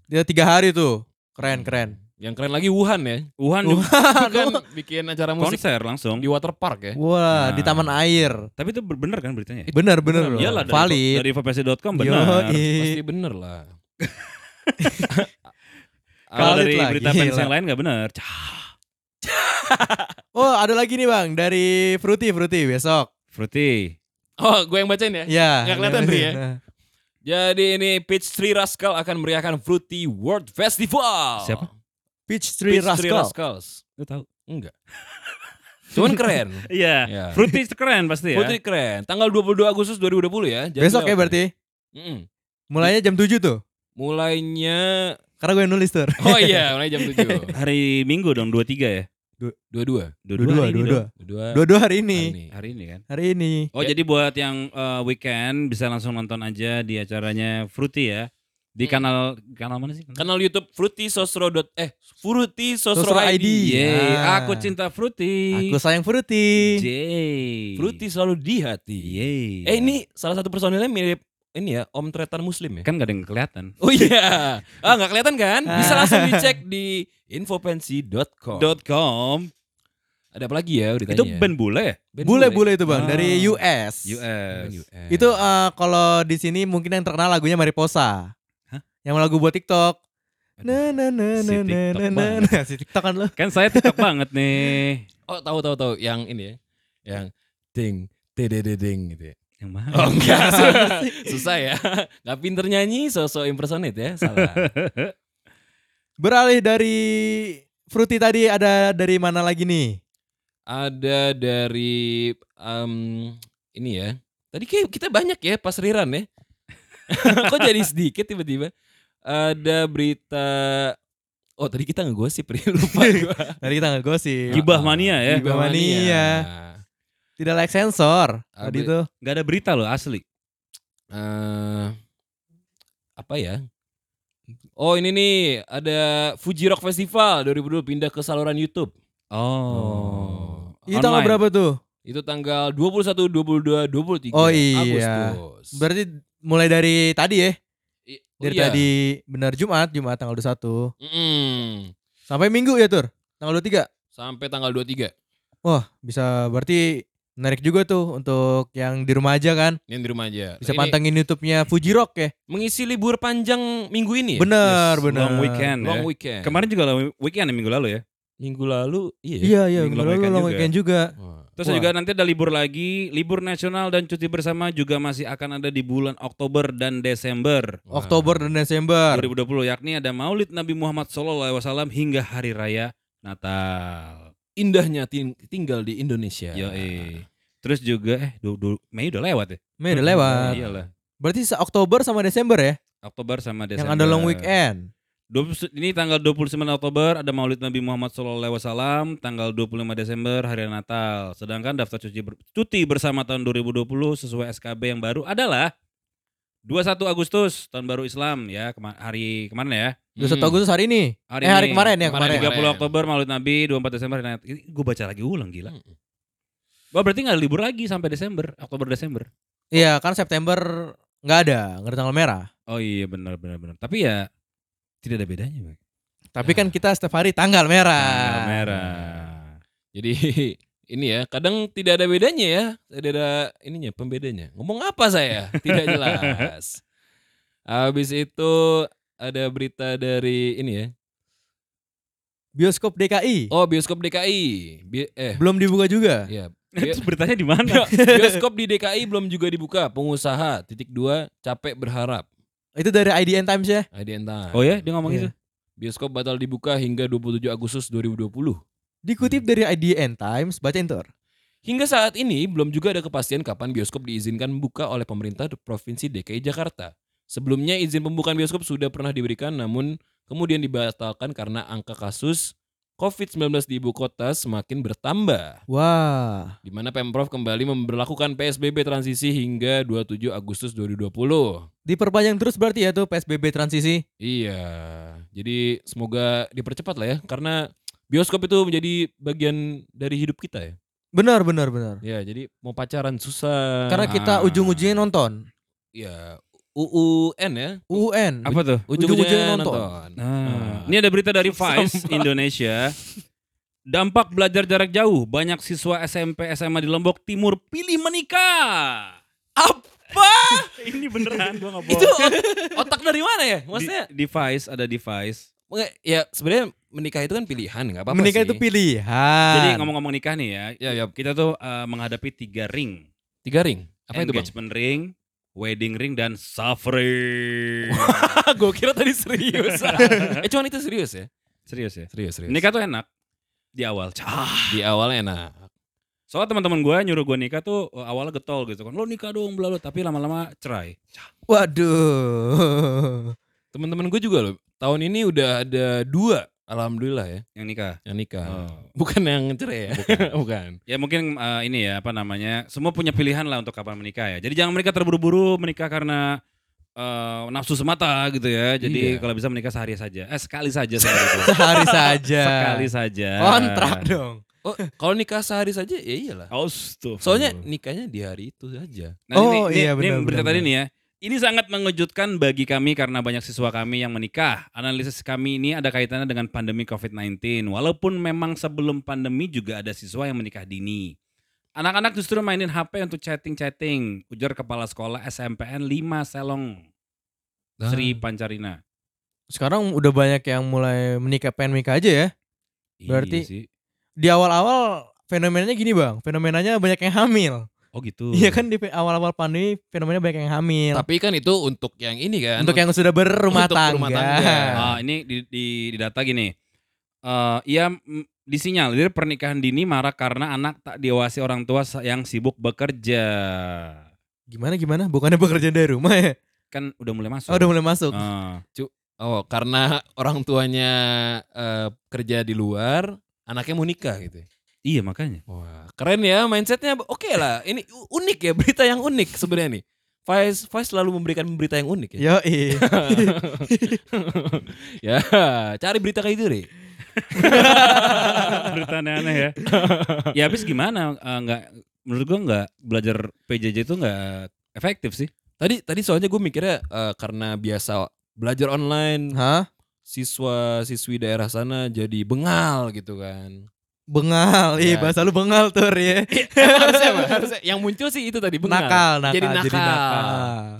Speaker 2: Dia tiga hari tuh. Keren, keren.
Speaker 3: Yang keren lagi Wuhan ya.
Speaker 1: Wuhan juga
Speaker 3: Wuhan bikin acara musik
Speaker 1: konser langsung.
Speaker 3: di water park ya.
Speaker 2: Wah,
Speaker 1: Nah.
Speaker 2: di taman air.
Speaker 1: Tapi itu bener kan beritanya? ya?
Speaker 2: Bener, bener loh.
Speaker 1: Iyalah dari,
Speaker 2: Iya. Valid. iya.
Speaker 1: dari infopesi.com benar.
Speaker 2: Yoi.
Speaker 3: Pasti bener lah.
Speaker 1: Kalau
Speaker 2: Valid
Speaker 1: dari
Speaker 2: lah,
Speaker 1: berita
Speaker 2: gila.
Speaker 1: fans yang lain nggak benar. Cah.
Speaker 2: Oh, ada lagi nih, Bang, dari Fruity Fruity besok.
Speaker 1: Fruity.
Speaker 3: Oh, gue yang bacain ya.
Speaker 2: Ya.
Speaker 3: Nggak kelihatan, Bri, ya?
Speaker 2: Nah.
Speaker 3: Jadi ini Peachtree Rascal akan meriahkan Fruity World Festival.
Speaker 1: Siapa?
Speaker 2: Peach Tree
Speaker 3: Peachtree
Speaker 2: Rascal.
Speaker 3: Rascals.
Speaker 1: Lu tahu?
Speaker 3: Enggak. Cuman keren.
Speaker 1: Iya.
Speaker 3: ya.
Speaker 1: Fruity keren pasti ya.
Speaker 3: Fruity keren. Tanggal 22 Agustus 2020 ya. Jangan
Speaker 2: Besok ya
Speaker 3: lewat.
Speaker 2: berarti.
Speaker 3: Mm-mm.
Speaker 2: Mulainya jam 7 tuh.
Speaker 3: Mulainya
Speaker 2: Karena gue yang nulis tuh.
Speaker 3: Oh iya, mulai jam 7.
Speaker 1: Hari Minggu dong 23 ya.
Speaker 3: 22.
Speaker 1: 22
Speaker 2: Dua-dua,
Speaker 1: hari ini
Speaker 2: dua-dua.
Speaker 1: dong.
Speaker 3: 22.
Speaker 2: Dua-dua hari
Speaker 3: hari
Speaker 2: ini.
Speaker 3: ini.
Speaker 1: Hari ini kan.
Speaker 2: Nah. Hari ini.
Speaker 1: Oh jadi buat yang uh, weekend bisa langsung nonton aja di acaranya Fruity ya. Di
Speaker 3: Hmm.
Speaker 1: kanal kanal mana sih?
Speaker 3: Kanal YouTube Fruity Sosro. dot- Eh, Fruity Sosro,
Speaker 2: Sosro
Speaker 3: ID.
Speaker 2: ID.
Speaker 1: Yeay,
Speaker 2: Ah.
Speaker 1: aku cinta Fruity.
Speaker 2: Aku sayang Fruity.
Speaker 1: Yeay.
Speaker 3: Fruity selalu di hati.
Speaker 1: Yeay.
Speaker 3: Eh, ini salah satu personilnya mirip ini ya, Om Tretan Muslim ya.
Speaker 1: kan gak ada yang kelihatan.
Speaker 3: Oh iya. Ah nggak kelihatan kan? Bisa langsung dicek di infopensi.com.
Speaker 1: .com
Speaker 3: Ada apa lagi ya udah
Speaker 1: Iya. itu band bola ya?
Speaker 2: Bule-bule itu, Bang,
Speaker 1: Ah.
Speaker 2: dari US.
Speaker 1: US.
Speaker 2: Itu eh, kalau di sini mungkin yang terkenal lagunya Mariposa.
Speaker 1: Hah?
Speaker 2: Yang lagu buat TikTok.
Speaker 1: Aduh,
Speaker 2: Na na na
Speaker 1: si
Speaker 2: na
Speaker 1: TikTok
Speaker 2: na na na
Speaker 1: banget.
Speaker 2: na. Si TikTok kan lu.
Speaker 1: Kan saya TikTok banget nih.
Speaker 3: Oh, tahu tahu tahu yang ini ya. Yang ding tedededing gitu ya.
Speaker 1: Yang mana?
Speaker 3: Oh enggak, susah, susah ya. Gak pinter nyanyi, sosok impersonate ya, salah.
Speaker 2: Beralih dari Fruity tadi ada dari mana lagi nih?
Speaker 3: Ada dari em, ini ya. Tadi kayak kita banyak ya pas riran ya. Kok jadi sedikit tiba-tiba? Ada berita Oh tadi kita ngegosip Ri. lupa gua.
Speaker 2: Tadi kita nggak gosip.
Speaker 1: Gibah mania ya.
Speaker 2: iya. Gibah mania. Tidak like sensor. Tadi
Speaker 3: Abi-
Speaker 2: tuh.
Speaker 1: Gak ada berita loh asli.
Speaker 3: Eh, apa ya? Oh ini nih ada Fuji Rock Festival 2020 pindah ke saluran YouTube.
Speaker 1: Oh.
Speaker 3: Iya,
Speaker 2: Itu tanggal berapa tuh?
Speaker 3: Itu tanggal 21, 22, 23
Speaker 2: Oh, iya.
Speaker 3: Agustus.
Speaker 2: Berarti mulai dari tadi ya.
Speaker 3: I- oh,
Speaker 2: Dari
Speaker 3: iya.
Speaker 2: tadi benar Jumat, Jumat tanggal 21
Speaker 3: Mm-mm.
Speaker 2: sampai Minggu ya, Tur. Tanggal 23.
Speaker 3: Sampai tanggal 23.
Speaker 2: Wah, bisa berarti menarik juga tuh untuk yang di rumah aja kan.
Speaker 3: Ini di rumah aja.
Speaker 2: Bisa
Speaker 1: Nah,
Speaker 3: Ini
Speaker 2: pantengin YouTube-nya Fuji Rock ya.
Speaker 3: Mengisi libur panjang minggu ini. ya?
Speaker 2: Bener, Iya.
Speaker 3: Yes.
Speaker 2: bener.
Speaker 1: Iya, Long weekend ya.
Speaker 3: Long weekend.
Speaker 1: Kemarin juga long weekend ya, minggu lalu ya.
Speaker 3: minggu lalu iya.
Speaker 2: Iya, iya,
Speaker 1: Minggu
Speaker 2: minggu
Speaker 1: long
Speaker 2: lalu
Speaker 1: weekend
Speaker 2: long
Speaker 1: juga.
Speaker 2: weekend juga.
Speaker 3: Wah.
Speaker 1: Terus
Speaker 2: Wah.
Speaker 1: juga nanti ada libur lagi, libur nasional dan cuti bersama juga masih akan ada di bulan Oktober dan Desember
Speaker 3: Wah.
Speaker 2: Oktober dan Desember.
Speaker 1: 2020 yakni ada Maulid Nabi Muhammad SAW hingga Hari Raya Natal.
Speaker 3: indahnya ting- tinggal di Indonesia.
Speaker 2: Ya.
Speaker 3: Mm.
Speaker 1: Yoi. Terus juga eh du- du- Mei udah lewat ya?
Speaker 2: Mei udah lewat.
Speaker 1: Iyalah.
Speaker 2: Berarti se- Oktober sama Desember ya
Speaker 1: Oktober sama Desember. Hmm.
Speaker 2: yang ada long weekend.
Speaker 1: 20 ini tanggal 29 Oktober ada Maulid Nabi Muhammad SAW, tanggal 25 Desember hari Natal. Sedangkan daftar cuti, ber- cuti bersama tahun 2020 sesuai SKB yang baru adalah 21 Agustus tahun baru Islam ya kema- hari kemarin ya.
Speaker 2: Dua satu Agustus hari ini. eh hari
Speaker 1: ini.
Speaker 2: kemarin ya
Speaker 3: Kemarin
Speaker 2: kemarin.
Speaker 3: juga.
Speaker 1: 30 Oktober Maulid Nabi, 24 Desember hari Natal. Gue baca lagi ulang gila. Wah berarti nggak libur lagi sampai Desember, Oktober Desember.
Speaker 2: Iya kan September nggak ada, nggak ada tanggal merah.
Speaker 1: Oh iya benar benar benar. Tapi ya tidak ada bedanya. Bang.
Speaker 2: Tapi kan kita setiap hari tanggal merah.
Speaker 1: Iya. Tanggal merah.
Speaker 3: Jadi ini ya, kadang tidak ada bedanya ya, tidak ada ininya pembedanya. Ngomong apa saya? Tidak jelas. Habis itu ada berita dari ini ya.
Speaker 2: Bioskop DKI
Speaker 3: Oh, bioskop DKI. Bi- eh,
Speaker 2: belum dibuka juga.
Speaker 3: ya.
Speaker 1: Terus beritanya di mana?
Speaker 3: Bioskop di DKI belum juga dibuka. Pengusaha titik dua capek berharap.
Speaker 2: Itu dari IDN Times ya.
Speaker 3: Adi entah.
Speaker 1: Oh ya, dia ngomong
Speaker 2: Iya.
Speaker 1: gitu.
Speaker 3: Bioskop batal dibuka hingga 27 Agustus 2020.
Speaker 1: Hmm.
Speaker 2: Dikutip dari IDN Times, bacain tuh.
Speaker 3: Hingga saat ini belum juga ada kepastian kapan bioskop diizinkan buka oleh pemerintah Provinsi DKI Jakarta. Sebelumnya izin pembukaan bioskop sudah pernah diberikan namun kemudian dibatalkan karena angka kasus COVID-19 di ibu kota semakin bertambah.
Speaker 2: Wah,
Speaker 3: Di mana Pemprov kembali memperlakukan PSBB transisi hingga 27 Agustus 2020.
Speaker 2: diperpanjang terus berarti ya tuh PSBB transisi.
Speaker 3: Iya, jadi semoga dipercepat lah ya karena bioskop itu menjadi bagian dari hidup kita ya.
Speaker 2: Benar, benar, benar.
Speaker 3: Ya, jadi mau pacaran susah.
Speaker 2: Karena
Speaker 1: Ah.
Speaker 2: kita ujung-ujungnya nonton.
Speaker 3: ya UUN ya
Speaker 1: Oh.
Speaker 2: UN.
Speaker 1: Apa tuh?
Speaker 3: ujung-ujungnya
Speaker 2: Ujung-ujungnya
Speaker 3: nonton. Nah.
Speaker 1: Ah. Ini ada berita dari Vice Indonesia. Dampak belajar jarak jauh, banyak siswa SMP SMA di Lombok Timur pilih menikah.
Speaker 3: Apa?
Speaker 1: Ini beneran gua enggak
Speaker 3: Itu ot- otak dari mana ya? Maksudnya
Speaker 1: device ada device.
Speaker 3: nge- ya sebenarnya menikah itu kan pilihan nggak apa-apa
Speaker 2: Menikah
Speaker 3: sih.
Speaker 2: itu pilihan.
Speaker 1: Jadi ngomong-ngomong nikah nih ya,
Speaker 3: Ya, ya.
Speaker 1: kita tuh eh, menghadapi tiga ring.
Speaker 3: tiga ring. Apa itu bang?
Speaker 1: Engagement ring, wedding ring dan suffering.
Speaker 3: Gue kira tadi serius. eh cuman itu serius ya?
Speaker 1: Serius ya?
Speaker 3: Serius serius.
Speaker 1: Nikah tuh enak di awal. Cah.
Speaker 3: di nah, awal enak.
Speaker 1: Soalnya teman-teman gue nyuruh gue nikah tuh eh, awalnya getol gitu kan. Lo nikah dong bla bla tapi lama-lama cerai.
Speaker 2: Waduh.
Speaker 3: Teman-teman gue juga loh. Tahun ini udah ada dua. Alhamdulillah ya
Speaker 1: Yang nikah.
Speaker 3: yang nikah.
Speaker 1: Oh.
Speaker 3: Bukan yang cerai ya? Bukan.
Speaker 1: Ya mungkin eh, ini ya apa namanya semua punya pilihan lah untuk kapan menikah ya. Jadi jangan mereka terburu-buru menikah karena eh, nafsu semata gitu ya. Jadi
Speaker 3: Iya.
Speaker 1: kalau bisa menikah sehari saja, eh sekali saja sekali saja.
Speaker 2: Sehari saja.
Speaker 1: sekali saja.
Speaker 2: Iya. Kontrak dong.
Speaker 3: Oh, kalau nikah sehari saja ya iyalah.
Speaker 1: Astaghfirullah.
Speaker 3: Soalnya nikahnya di hari itu saja.
Speaker 1: Nah,
Speaker 2: Oh,
Speaker 1: ini, ini-
Speaker 2: iya,
Speaker 1: ini
Speaker 2: benar,
Speaker 1: berita
Speaker 2: benar,
Speaker 1: tadi nih ya. Ini sangat mengejutkan bagi kami karena banyak siswa kami yang menikah. Analisis kami ini ada kaitannya dengan pandemi COVID-19. Walaupun memang sebelum pandemi juga ada siswa yang menikah dini. Anak-anak justru mainin HP untuk chatting-chatting, ujar kepala sekolah SMPN 5 Selong
Speaker 2: Ah.
Speaker 1: Sri Pancarina.
Speaker 2: Sekarang udah banyak yang mulai menikah pengen nikah aja ya.
Speaker 1: Iya
Speaker 2: Berarti-
Speaker 1: sih.
Speaker 2: Di awal-awal fenomenanya gini bang, fenomenanya banyak yang hamil.
Speaker 1: oh gitu.
Speaker 2: Iya kan di pe- awal-awal pandemi fenomenanya banyak yang hamil.
Speaker 3: Tapi kan itu untuk yang ini kan.
Speaker 2: Untuk yang sudah berumah
Speaker 3: Untuk berumah
Speaker 2: tangga.
Speaker 3: tangga.
Speaker 1: Ah, ini di, di, di data gini. Eh ia mm, disinyalir pernikahan dini marak karena anak tak diawasi orang tua sa- yang sibuk bekerja.
Speaker 2: Gimana gimana? Bukannya bekerja dari rumah ya?
Speaker 1: Kan udah mulai masuk.
Speaker 2: Oh, udah mulai masuk.
Speaker 1: Ah,
Speaker 3: Oh, karena orang tuanya eh, kerja di luar, anaknya mau nikah gitu.
Speaker 1: iya makanya.
Speaker 3: Wah, keren ya mindsetnya. Oke lah, ini u- unik ya berita yang unik sebenarnya nih. Vice, Vice selalu memberikan berita yang unik ya.
Speaker 2: Yo
Speaker 3: ya, cari berita kayak itu deh.
Speaker 1: Berita aneh ya. ya habis gimana? Eh, nggak menurut gua nggak belajar PJJ itu nggak efektif sih.
Speaker 3: Tadi tadi soalnya gue mikirnya eh, karena biasa belajar online,
Speaker 2: Hah?
Speaker 3: siswa-siswi daerah sana jadi bengal gitu kan.
Speaker 2: Bengal. Ih,
Speaker 3: Ya.
Speaker 2: bahasa lu bengal tur ya.
Speaker 3: harusnya, Pak, harusnya yang muncul sih itu tadi bengal.
Speaker 2: Nakal, nakal.
Speaker 3: Jadi nakal.
Speaker 2: Jadi nakal.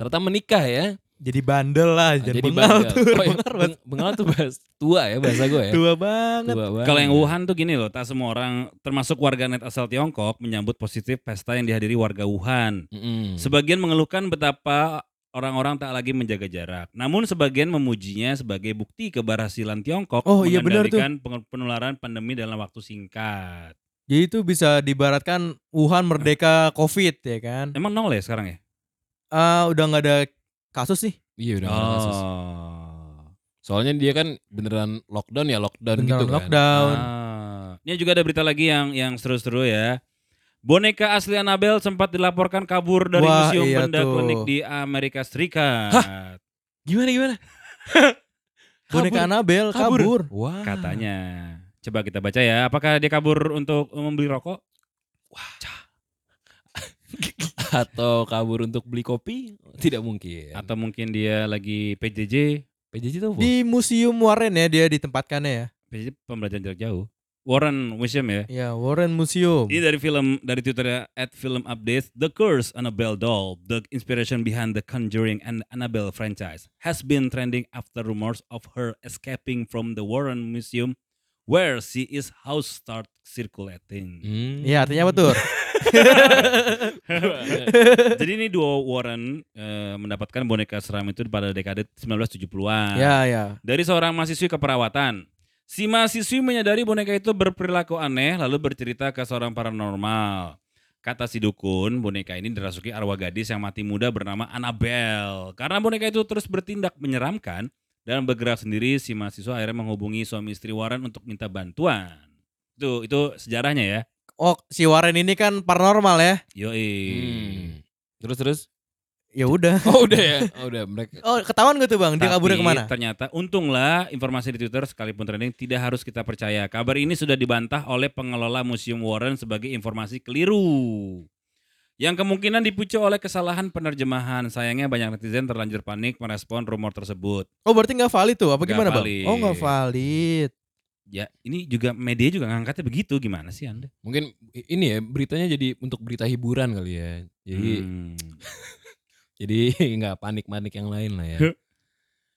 Speaker 3: Ternyata menikah ya.
Speaker 2: Jadi bandel iya. lah, Ah, jadi,
Speaker 3: Jadi
Speaker 2: bengal
Speaker 3: bandel. Oh,
Speaker 2: tur.
Speaker 3: iya,
Speaker 2: Benar, Mas.
Speaker 3: beng- bengal tuh bahas tua ya bahasa gue ya.
Speaker 2: Tua banget.
Speaker 3: Tua banget.
Speaker 1: Kalau yang Wuhan tuh gini loh, tak semua orang termasuk warga net asal Tiongkok menyambut positif pesta yang dihadiri warga Wuhan.
Speaker 3: Mm-mm.
Speaker 2: Hmm.
Speaker 1: Sebagian mengeluhkan betapa orang-orang tak lagi menjaga jarak. Namun sebagian memujinya sebagai bukti keberhasilan Tiongkok
Speaker 2: Oh, iya benar tuh.
Speaker 1: mengendalikan peng- penularan pandemi dalam waktu singkat.
Speaker 2: Jadi itu bisa dibaratkan Wuhan merdeka COVID ya kan?
Speaker 1: Emang nol ya sekarang ya?
Speaker 2: Ah, udah nggak ada kasus sih.
Speaker 1: Oh.
Speaker 3: Oh. Iya udah nggak ada kasus. Soalnya dia kan beneran lockdown ya lockdown
Speaker 2: Beneran
Speaker 3: gitu kan.
Speaker 2: lockdown.
Speaker 1: Ah, Ini juga ada berita lagi yang yang seru-seru ya. Boneka asli Annabelle sempat dilaporkan kabur dari
Speaker 2: Wah,
Speaker 1: Museum
Speaker 2: iya
Speaker 1: Benda
Speaker 2: tuh.
Speaker 1: Klinik di Amerika Serikat.
Speaker 3: Gimana gimana?
Speaker 2: Boneka Annabelle kabur.
Speaker 3: Wah.
Speaker 1: Katanya. Coba kita baca ya. Apakah dia kabur untuk membeli rokok?
Speaker 3: Atau kabur untuk beli kopi? Tidak mungkin.
Speaker 2: Iya.
Speaker 1: Atau mungkin dia lagi PJJ?
Speaker 3: PJJ tuh apa?
Speaker 2: Di Museum Warren ya dia ditempatkannya ya.
Speaker 1: PJJ pembelajaran jarak jauh. Warren Museum ya.
Speaker 2: Ya Warren Museum.
Speaker 1: Ini dari film dari Twitter at film updates The Curse Annabelle Doll, the inspiration behind the Conjuring and Annabelle franchise, has been trending after rumors of her escaping from the Warren Museum, where she is house start circulating.
Speaker 3: Hmm.
Speaker 2: Ya artinya apa tuh?
Speaker 1: Jadi ini duo Warren eh, mendapatkan boneka seram itu pada dekade 1970-an.
Speaker 2: ya ya.
Speaker 1: Dari seorang mahasiswi keperawatan. Si mahasiswi menyadari boneka itu berperilaku aneh lalu bercerita ke seorang paranormal. Kata si dukun, boneka ini dirasuki arwah gadis yang mati muda bernama Annabelle. Karena boneka itu terus bertindak menyeramkan dan bergerak sendiri, si mahasiswa akhirnya menghubungi suami istri Warren untuk minta bantuan. Itu itu sejarahnya ya.
Speaker 2: Oh si Warren ini kan paranormal ya.
Speaker 1: Yoi.
Speaker 3: Hmm. Terus terus?
Speaker 2: Ya udah.
Speaker 3: Oh udah ya. Oh udah mereka.
Speaker 2: Oh ketahuan gak tuh bang? Dia
Speaker 1: Tapi
Speaker 2: kaburnya kemana?
Speaker 1: Ternyata untunglah informasi di Twitter sekalipun trending tidak harus kita percaya. Kabar ini sudah dibantah oleh pengelola Museum Warren sebagai informasi keliru. Yang kemungkinan dipicu oleh kesalahan penerjemahan. Sayangnya banyak netizen terlanjur panik merespon rumor tersebut.
Speaker 2: Oh berarti nggak valid tuh? Apa
Speaker 1: Nggak
Speaker 2: gimana
Speaker 1: valid.
Speaker 2: bang? Oh nggak valid.
Speaker 1: Ya, ini juga media juga ngangkatnya begitu. Gimana sih Anda?
Speaker 3: Mungkin ini ya beritanya jadi untuk berita hiburan kali ya. Jadi
Speaker 1: Hmm.
Speaker 3: jadi nggak panik-panik yang lain lah ya.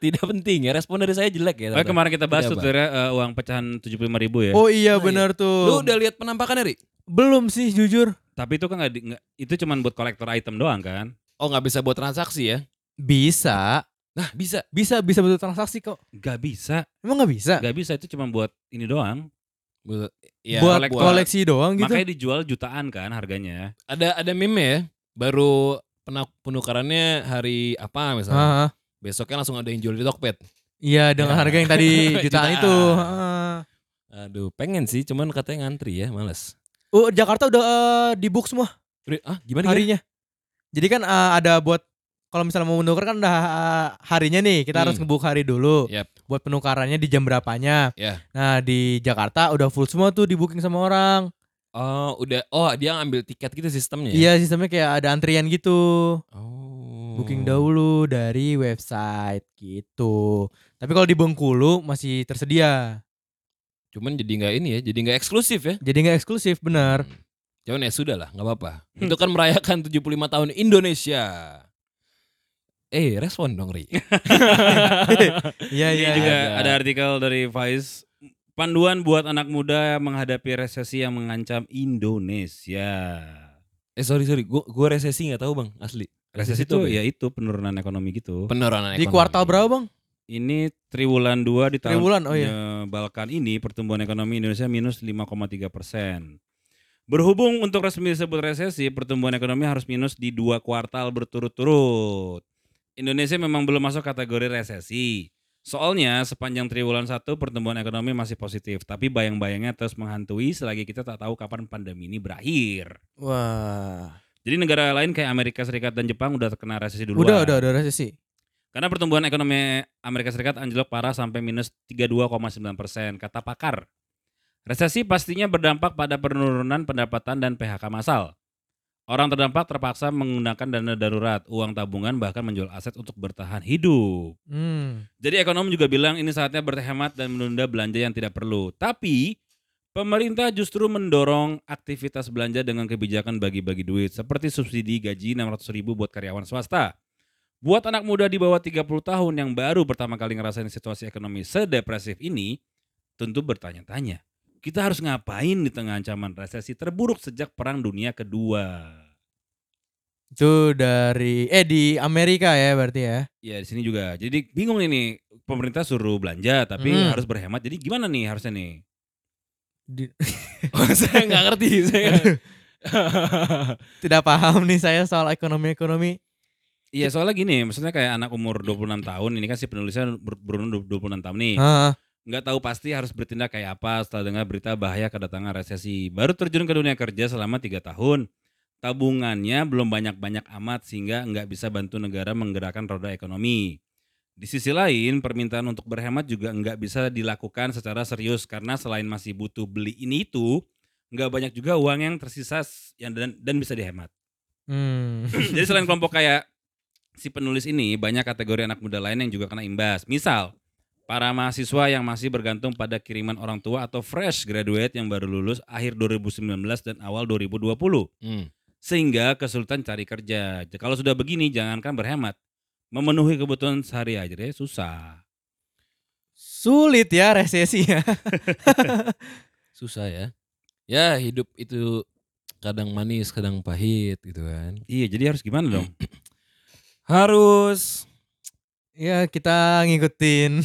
Speaker 3: Tidak penting ya. Respon dari saya jelek ya.
Speaker 1: Oh,
Speaker 3: ternyata.
Speaker 1: kemarin kita bahas
Speaker 3: Tidak,
Speaker 1: tuh
Speaker 3: Bang.
Speaker 1: Twitter, eh, uang pecahan 75 ribu ya.
Speaker 2: Oh iya
Speaker 3: Nah,
Speaker 2: benar
Speaker 3: Lu
Speaker 2: tuh.
Speaker 3: udah lihat penampakan Eri?
Speaker 2: Belum sih jujur.
Speaker 1: Tapi itu kan nggak di- nggak- itu cuman buat kolektor item doang kan?
Speaker 3: Oh nggak bisa buat transaksi ya?
Speaker 2: Bisa.
Speaker 3: Nah bisa.
Speaker 2: Bisa bisa betul transaksi kok.
Speaker 1: Gak bisa,
Speaker 2: Emang nggak bisa?
Speaker 1: gak bisa itu cuma buat ini doang.
Speaker 3: Buat, ya,
Speaker 2: buat
Speaker 1: kolektor.
Speaker 2: koleksi doang gitu.
Speaker 1: Makanya dijual jutaan kan harganya.
Speaker 3: ada ada meme ya. Baru pena- penukarannya hari apa misalnya.
Speaker 2: Ah,
Speaker 3: Besoknya langsung ada yang jual di Tokped.
Speaker 2: Iya dengan
Speaker 3: Ya.
Speaker 2: harga yang tadi jutaan
Speaker 3: Jutaan.
Speaker 2: itu. Ah.
Speaker 3: Aduh pengen sih cuman katanya ngantri ya males.
Speaker 2: Oh Jakarta udah eh, di book semua
Speaker 3: Ri- Ah gimana? gimana?
Speaker 2: harinya. Jadi kan eh, ada buat kalau misalnya mau menukar kan udah eh, harinya nih kita harus
Speaker 3: Hmm.
Speaker 2: ngebuk hari dulu
Speaker 3: Yap.
Speaker 2: buat penukarannya di jam berapanya.
Speaker 3: Ya.
Speaker 2: Nah di Jakarta udah full semua tuh di booking sama orang.
Speaker 3: Oh udah. Oh dia ngambil tiket gitu sistemnya. ya?
Speaker 2: Iya sistemnya kayak ada antrian gitu.
Speaker 3: Oh.
Speaker 2: Booking dahulu dari website gitu. Tapi kalau di Bengkulu masih tersedia.
Speaker 3: Cuman jadi nggak ini ya, jadi nggak eksklusif ya.
Speaker 2: Jadi nggak eksklusif bener.
Speaker 3: Hmm. Cuman ya sudah lah, nggak apa-apa. Itu kan merayakan 75 tahun Indonesia. Eh, respon dong Ri.
Speaker 2: Iya
Speaker 1: Ini
Speaker 2: iya.
Speaker 1: juga
Speaker 2: iya.
Speaker 1: ada artikel dari Vice. Panduan buat anak muda menghadapi resesi yang mengancam Indonesia.
Speaker 3: eh sorry sorry, gua, gua resesi nggak tahu bang, asli.
Speaker 1: Resesi itu
Speaker 3: itu apa
Speaker 1: ya itu penurunan ekonomi gitu.
Speaker 3: Penurunan
Speaker 2: Di
Speaker 3: ekonomi.
Speaker 2: kuartal berapa bang?
Speaker 1: Ini triwulan 2 di tahun
Speaker 2: Triwulan, oh iya.
Speaker 1: eh, Balkan ini pertumbuhan ekonomi Indonesia minus 5,3 persen. Berhubung untuk resmi disebut resesi, pertumbuhan ekonomi harus minus di dua kuartal berturut-turut. Indonesia memang belum masuk kategori resesi. Soalnya sepanjang triwulan satu pertumbuhan ekonomi masih positif, tapi bayang-bayangnya terus menghantui selagi kita tak tahu kapan pandemi ini berakhir.
Speaker 2: Wah.
Speaker 1: Jadi negara lain kayak Amerika Serikat dan Jepang udah terkena resesi duluan.
Speaker 2: Udah udah udah resesi.
Speaker 1: Karena pertumbuhan ekonomi Amerika Serikat anjlok parah sampai minus 32,9 persen, kata pakar. Resesi pastinya berdampak pada penurunan pendapatan dan PHK massal. Orang terdampak terpaksa menggunakan dana darurat, uang tabungan, bahkan menjual aset untuk bertahan hidup.
Speaker 2: Hmm.
Speaker 1: Jadi ekonom juga bilang ini saatnya berhemat dan menunda belanja yang tidak perlu. Tapi pemerintah justru mendorong aktivitas belanja dengan kebijakan bagi-bagi duit seperti subsidi gaji 600 ribu buat karyawan swasta. Buat anak muda di bawah 30 tahun yang baru pertama kali ngerasain situasi ekonomi sedepresif ini, tentu bertanya-tanya. Kita harus ngapain di tengah ancaman resesi terburuk sejak Perang Dunia Kedua?
Speaker 2: Itu dari eh di Amerika ya berarti ya.
Speaker 1: Ya di sini juga. Jadi bingung ini pemerintah suruh belanja tapi
Speaker 2: Hmm.
Speaker 1: harus berhemat. Jadi gimana nih harusnya nih?
Speaker 2: Di-
Speaker 3: Oh, saya nggak ngerti. Saya.
Speaker 2: Tidak paham nih saya soal ekonomi ekonomi.
Speaker 1: Iya soalnya gini, maksudnya kayak anak umur 26 tahun, ini kan si penulisnya ber- berumur 26 tahun nih.
Speaker 2: Heeh.
Speaker 1: nggak tahu pasti harus bertindak kayak apa setelah dengar berita bahaya kedatangan resesi. Baru terjun ke dunia kerja selama tiga tahun. Tabungannya belum banyak-banyak amat sehingga nggak bisa bantu negara menggerakkan roda ekonomi. Di sisi lain, permintaan untuk berhemat juga nggak bisa dilakukan secara serius karena selain masih butuh beli ini itu, nggak banyak juga uang yang tersisa s- yang dan, dan bisa dihemat.
Speaker 2: Hmm.
Speaker 1: Jadi selain kelompok kayak si penulis ini, banyak kategori anak muda lain yang juga kena imbas. Misal, para mahasiswa yang masih bergantung pada kiriman orang tua atau fresh graduate yang baru lulus akhir 2019 dan awal 2020.
Speaker 3: Hmm.
Speaker 1: Sehingga kesulitan cari kerja. J- Kalau sudah begini, jangankan berhemat. Memenuhi kebutuhan sehari aja deh, susah.
Speaker 2: Sulit ya resesi ya.
Speaker 3: Susah ya. Ya hidup itu kadang manis, kadang pahit gitu kan.
Speaker 1: Iya, jadi harus gimana dong?
Speaker 3: Harus
Speaker 2: Ya kita ngikutin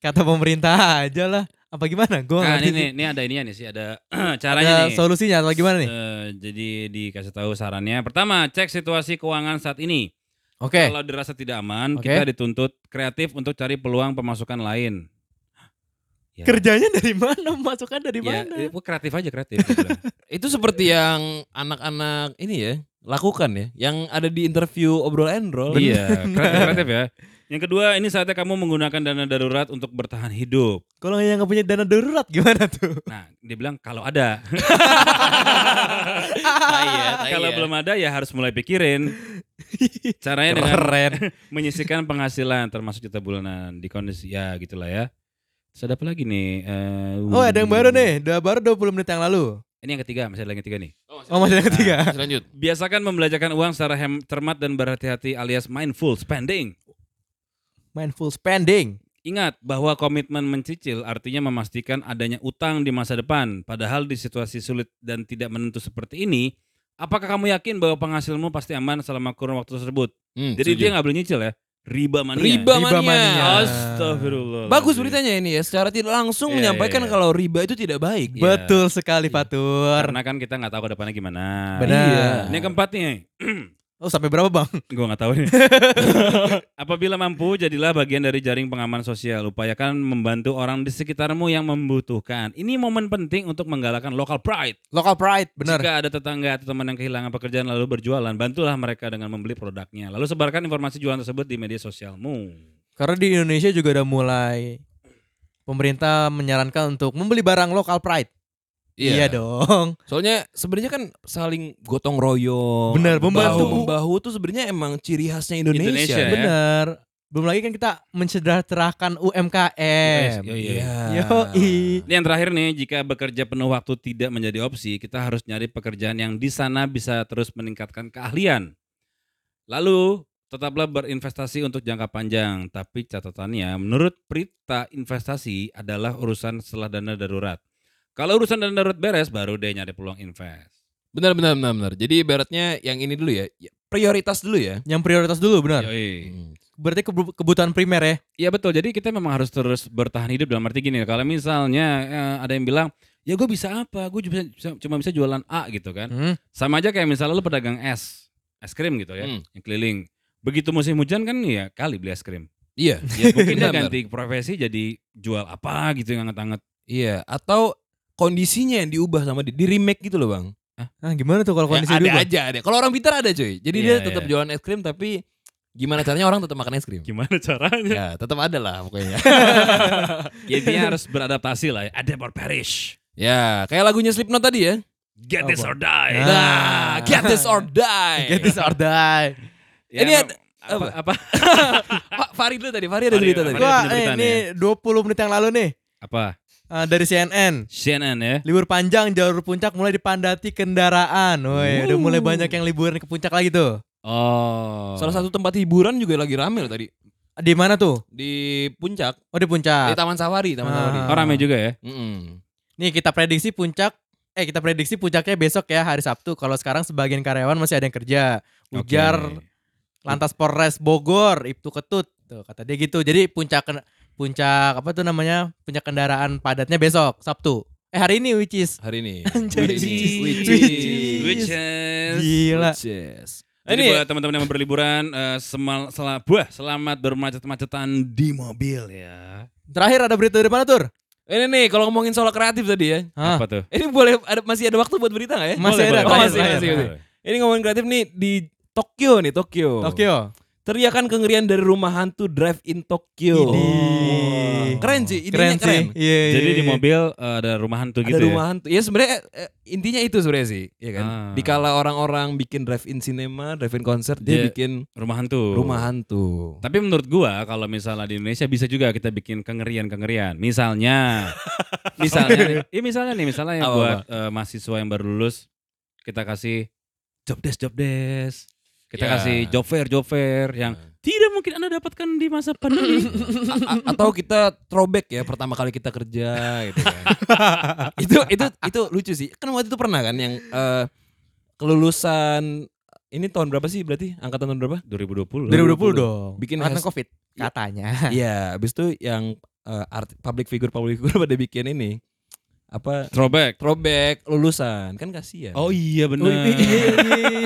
Speaker 2: kata pemerintah aja lah. Apa gimana? Gue
Speaker 1: Nah, ini,
Speaker 2: ngerti
Speaker 1: nih,
Speaker 2: sih.
Speaker 1: ini ada ininya nih sih, ada
Speaker 2: Ada
Speaker 1: caranya nih.
Speaker 2: solusinya atau gimana nih?
Speaker 1: Eh, jadi dikasih tahu sarannya. Pertama, cek situasi keuangan saat ini.
Speaker 2: Oke.
Speaker 1: Kalau dirasa tidak aman,
Speaker 2: Oke.
Speaker 1: kita dituntut kreatif untuk cari peluang pemasukan lain. Ya,
Speaker 2: Kerjanya dari mana? Masukan dari
Speaker 1: ya,
Speaker 2: mana?
Speaker 1: eh, gua kreatif aja kreatif. gua bilang.
Speaker 3: itu seperti yang anak-anak ini ya lakukan ya, yang ada di interview obrol and roll.
Speaker 1: iya, kreatif kreatif ya. Yang kedua, ini saatnya kamu menggunakan dana darurat untuk bertahan hidup.
Speaker 2: Kalau yang nggak punya dana darurat gimana tuh?
Speaker 1: Nah, dia bilang kalau ada.
Speaker 3: Ah, iya,
Speaker 1: kalau
Speaker 2: Iya.
Speaker 1: belum ada ya harus mulai pikirin. Caranya dengan menyisihkan penghasilan termasuk juta bulanan di kondisi ya gitulah ya. Terus ada apa lagi nih? Eh,
Speaker 2: Oh ada yang baru nih, udah baru 20 menit yang lalu.
Speaker 1: Ini yang ketiga, masih ada yang ketiga nih.
Speaker 2: Oh masih yang ketiga.
Speaker 1: Ah.
Speaker 3: Lanjut.
Speaker 1: Biasakan membelanjakan uang secara hem- cermat dan berhati-hati alias mindful spending.
Speaker 2: Mindful spending.
Speaker 1: Ingat bahwa komitmen mencicil artinya memastikan adanya utang di masa depan. Padahal di situasi sulit dan tidak menentu seperti ini, apakah kamu yakin bahwa penghasilmu pasti aman selama kurun waktu tersebut?
Speaker 3: Hmm,
Speaker 1: Jadi
Speaker 3: setuju.
Speaker 1: dia nggak boleh nyicil ya. Riba mania. Ya.
Speaker 3: riba
Speaker 2: Riba
Speaker 3: mania. Oh,
Speaker 2: mania.
Speaker 1: Astagfirullah.
Speaker 3: Bagus beritanya ini ya, secara tidak langsung
Speaker 1: Iya,
Speaker 3: menyampaikan
Speaker 1: iya, iya.
Speaker 3: kalau riba itu tidak baik.
Speaker 1: Iya.
Speaker 2: Betul sekali Fatur.
Speaker 1: Karena kan kita nggak tahu ke depannya gimana. Iya.
Speaker 2: Benar.
Speaker 1: Ini yang keempat nih.
Speaker 2: Oh sampai berapa bang?
Speaker 1: Gue nggak tahu nih. Apabila mampu, jadilah bagian dari jaring pengaman sosial. Upayakan membantu orang di sekitarmu yang membutuhkan. Ini momen penting untuk menggalakkan local pride.
Speaker 2: Local pride, bener.
Speaker 1: Jika ada tetangga atau teman yang kehilangan pekerjaan lalu berjualan, bantulah mereka dengan membeli produknya. Lalu sebarkan informasi jualan tersebut di media sosialmu.
Speaker 2: Karena di Indonesia juga udah mulai pemerintah menyarankan untuk membeli barang local pride. Iya dong.
Speaker 3: Soalnya sebenarnya kan saling gotong royong.
Speaker 2: Benar, membantu.
Speaker 3: Bahu membahu tuh sebenarnya emang ciri khasnya
Speaker 1: Indonesia,
Speaker 3: Indonesia.
Speaker 1: ya.
Speaker 2: Bener. Belum lagi kan kita mensejahterakan
Speaker 3: Iya,
Speaker 2: UMKM.
Speaker 1: Yo, yo.
Speaker 2: Yoi.
Speaker 1: Ini yang terakhir nih, jika bekerja penuh waktu tidak menjadi opsi, kita harus nyari pekerjaan yang di sana bisa terus meningkatkan keahlian. Lalu, tetaplah berinvestasi untuk jangka panjang, tapi catatannya menurut Prita investasi adalah urusan setelah dana darurat. Kalau urusan dana darurat beres baru deh nyari peluang invest.
Speaker 3: Benar benar benar benar. Jadi ibaratnya yang ini dulu ya, ya, prioritas dulu ya.
Speaker 2: Yang prioritas dulu bener.
Speaker 1: Yoi.
Speaker 2: Berarti kebu- kebutuhan primer ya.
Speaker 1: Iya betul. Jadi kita memang harus terus bertahan hidup dalam arti gini. Kalau misalnya eh, ada yang bilang, ya gue bisa apa? Gue juga bisa- bisa- cuma bisa jualan A gitu kan.
Speaker 2: Hmm.
Speaker 1: Sama aja kayak misalnya lu pedagang es, es krim gitu ya,
Speaker 3: Hmm.
Speaker 1: yang keliling. Begitu musim hujan kan ya kali beli es krim.
Speaker 3: Iya.
Speaker 1: Ya mungkin dia
Speaker 3: Benar, benar.
Speaker 1: ganti profesi jadi jual apa gitu yang anget-anget.
Speaker 3: Iya, atau kondisinya yang diubah sama di, di remake gitu loh, Bang.
Speaker 2: Nah, gimana tuh
Speaker 3: Ya,
Speaker 2: kalau kondisi
Speaker 3: ada
Speaker 2: dulu?
Speaker 3: aja ada. Kalau orang pintar ada, cuy. Jadi
Speaker 1: Iya,
Speaker 3: dia
Speaker 1: iya.
Speaker 3: tetap jualan es krim tapi gimana caranya orang tetap makan es krim?
Speaker 1: Gimana caranya?
Speaker 3: Ya, tetap ada lah pokoknya.
Speaker 1: Ya, intinya harus beradaptasi lah ya. Adapt or perish.
Speaker 3: ya, kayak lagunya Slipknot tadi ya.
Speaker 1: Get
Speaker 2: Apa?
Speaker 1: this or die.
Speaker 2: Ah.
Speaker 3: Nah, get this or die.
Speaker 2: Get this or die.
Speaker 1: Ya,
Speaker 3: Ini
Speaker 1: emang-
Speaker 3: ya. ada-
Speaker 1: apa? apa?
Speaker 3: Pak Fari dulu tadi, Fari ada
Speaker 1: Fahri,
Speaker 3: cerita
Speaker 1: Fahri.
Speaker 3: tadi.
Speaker 1: Ada
Speaker 2: Wah,
Speaker 1: pemberitaan
Speaker 2: eh, ini 20 menit yang lalu nih
Speaker 1: Apa?
Speaker 2: eh, dari CNN.
Speaker 1: CNN ya.
Speaker 2: Libur panjang jalur puncak mulai dipandati kendaraan. Woi, udah mulai banyak yang liburan ke puncak lagi tuh.
Speaker 1: Oh.
Speaker 3: Salah satu tempat hiburan juga lagi rame loh tadi
Speaker 2: Di mana tuh?
Speaker 3: di puncak,
Speaker 2: Oh, di
Speaker 3: di
Speaker 2: puncak.
Speaker 3: Taman Safari, Taman
Speaker 2: Ah.
Speaker 3: Safari.
Speaker 1: Oh rame juga ya.
Speaker 3: Mm-mm.
Speaker 2: Nih kita prediksi puncak eh kita prediksi puncaknya besok ya hari Sabtu. Kalau sekarang sebagian karyawan masih ada yang kerja. Ujar
Speaker 1: Oke.
Speaker 2: Lantas Polres Bogor Ibtu Ketut tuh kata dia gitu. Jadi puncak ken- puncak apa tuh namanya? Puncak kendaraan padatnya besok Sabtu. Eh hari ini which is
Speaker 3: Hari ini.
Speaker 2: Anjay.
Speaker 3: Which is-
Speaker 2: Which
Speaker 3: which
Speaker 2: is-
Speaker 3: is-
Speaker 1: Which is-
Speaker 2: gila.
Speaker 3: which is.
Speaker 1: Jadi
Speaker 3: Ini- ya?
Speaker 1: buat teman-teman yang mau berliburan eh, semal, sela- buah, selamat bermacet-macetan di mobil
Speaker 3: Iya.
Speaker 1: ya.
Speaker 2: Terakhir ada berita dari mana tur?
Speaker 3: Ini nih kalau ngomongin soal kreatif tadi ya.
Speaker 2: Hah?
Speaker 1: Apa tuh?
Speaker 3: Ini boleh ada masih ada waktu buat berita nggak ya?
Speaker 2: Masih
Speaker 1: Boleh,
Speaker 2: ada.
Speaker 1: boleh,
Speaker 3: Oh,
Speaker 2: terakhir,
Speaker 3: masih,
Speaker 2: terakhir,
Speaker 3: masih,
Speaker 2: terakhir.
Speaker 3: masih. Ini ngomongin kreatif nih di Tokyo nih, Tokyo.
Speaker 2: Tokyo.
Speaker 3: Teriakan kengerian dari rumah hantu drive-in Tokyo. Oh.
Speaker 2: Idih.
Speaker 3: Keren sih, idenya
Speaker 2: Keren
Speaker 3: keren.
Speaker 2: sih. Iya, iya,
Speaker 1: Jadi di
Speaker 2: iya.
Speaker 1: mobil eh, ada rumah hantu
Speaker 3: Ada
Speaker 1: gitu
Speaker 3: rumah hantu. Ya sebenarnya eh, intinya itu sebenarnya sih, ya kan.
Speaker 1: Ah.
Speaker 3: Dikala orang-orang bikin drive-in cinema, drive-in konser, dia
Speaker 1: Dia-
Speaker 3: bikin
Speaker 1: ya. Rumah hantu.
Speaker 3: rumah hantu.
Speaker 1: Tapi menurut gua kalau misalnya di Indonesia bisa juga kita bikin kengerian-kengerian. Misalnya, misalnya, ya misalnya nih, misalnya yang
Speaker 3: Apa,
Speaker 1: buat eh, mahasiswa yang baru lulus kita kasih job desk, job desk. Kita
Speaker 3: Ya.
Speaker 1: kasih job fair, job fair yang tidak mungkin anda dapatkan di masa pandemi.
Speaker 3: A- a- atau kita throwback ya pertama kali kita kerja gitu kan. itu itu itu lucu sih. Kan waktu itu pernah kan yang eh, kelulusan ini tahun berapa sih berarti? Angkatan tahun berapa?
Speaker 1: 2020.
Speaker 2: 2020 dong.
Speaker 3: Bikin
Speaker 2: Karena
Speaker 3: hashtag-
Speaker 2: Covid katanya.
Speaker 3: Iya, habis itu yang eh, art- public figure public figure pada bikin ini apa
Speaker 1: Throwback.
Speaker 3: throwback lulusan kan kasihan.
Speaker 1: Oh iya benar.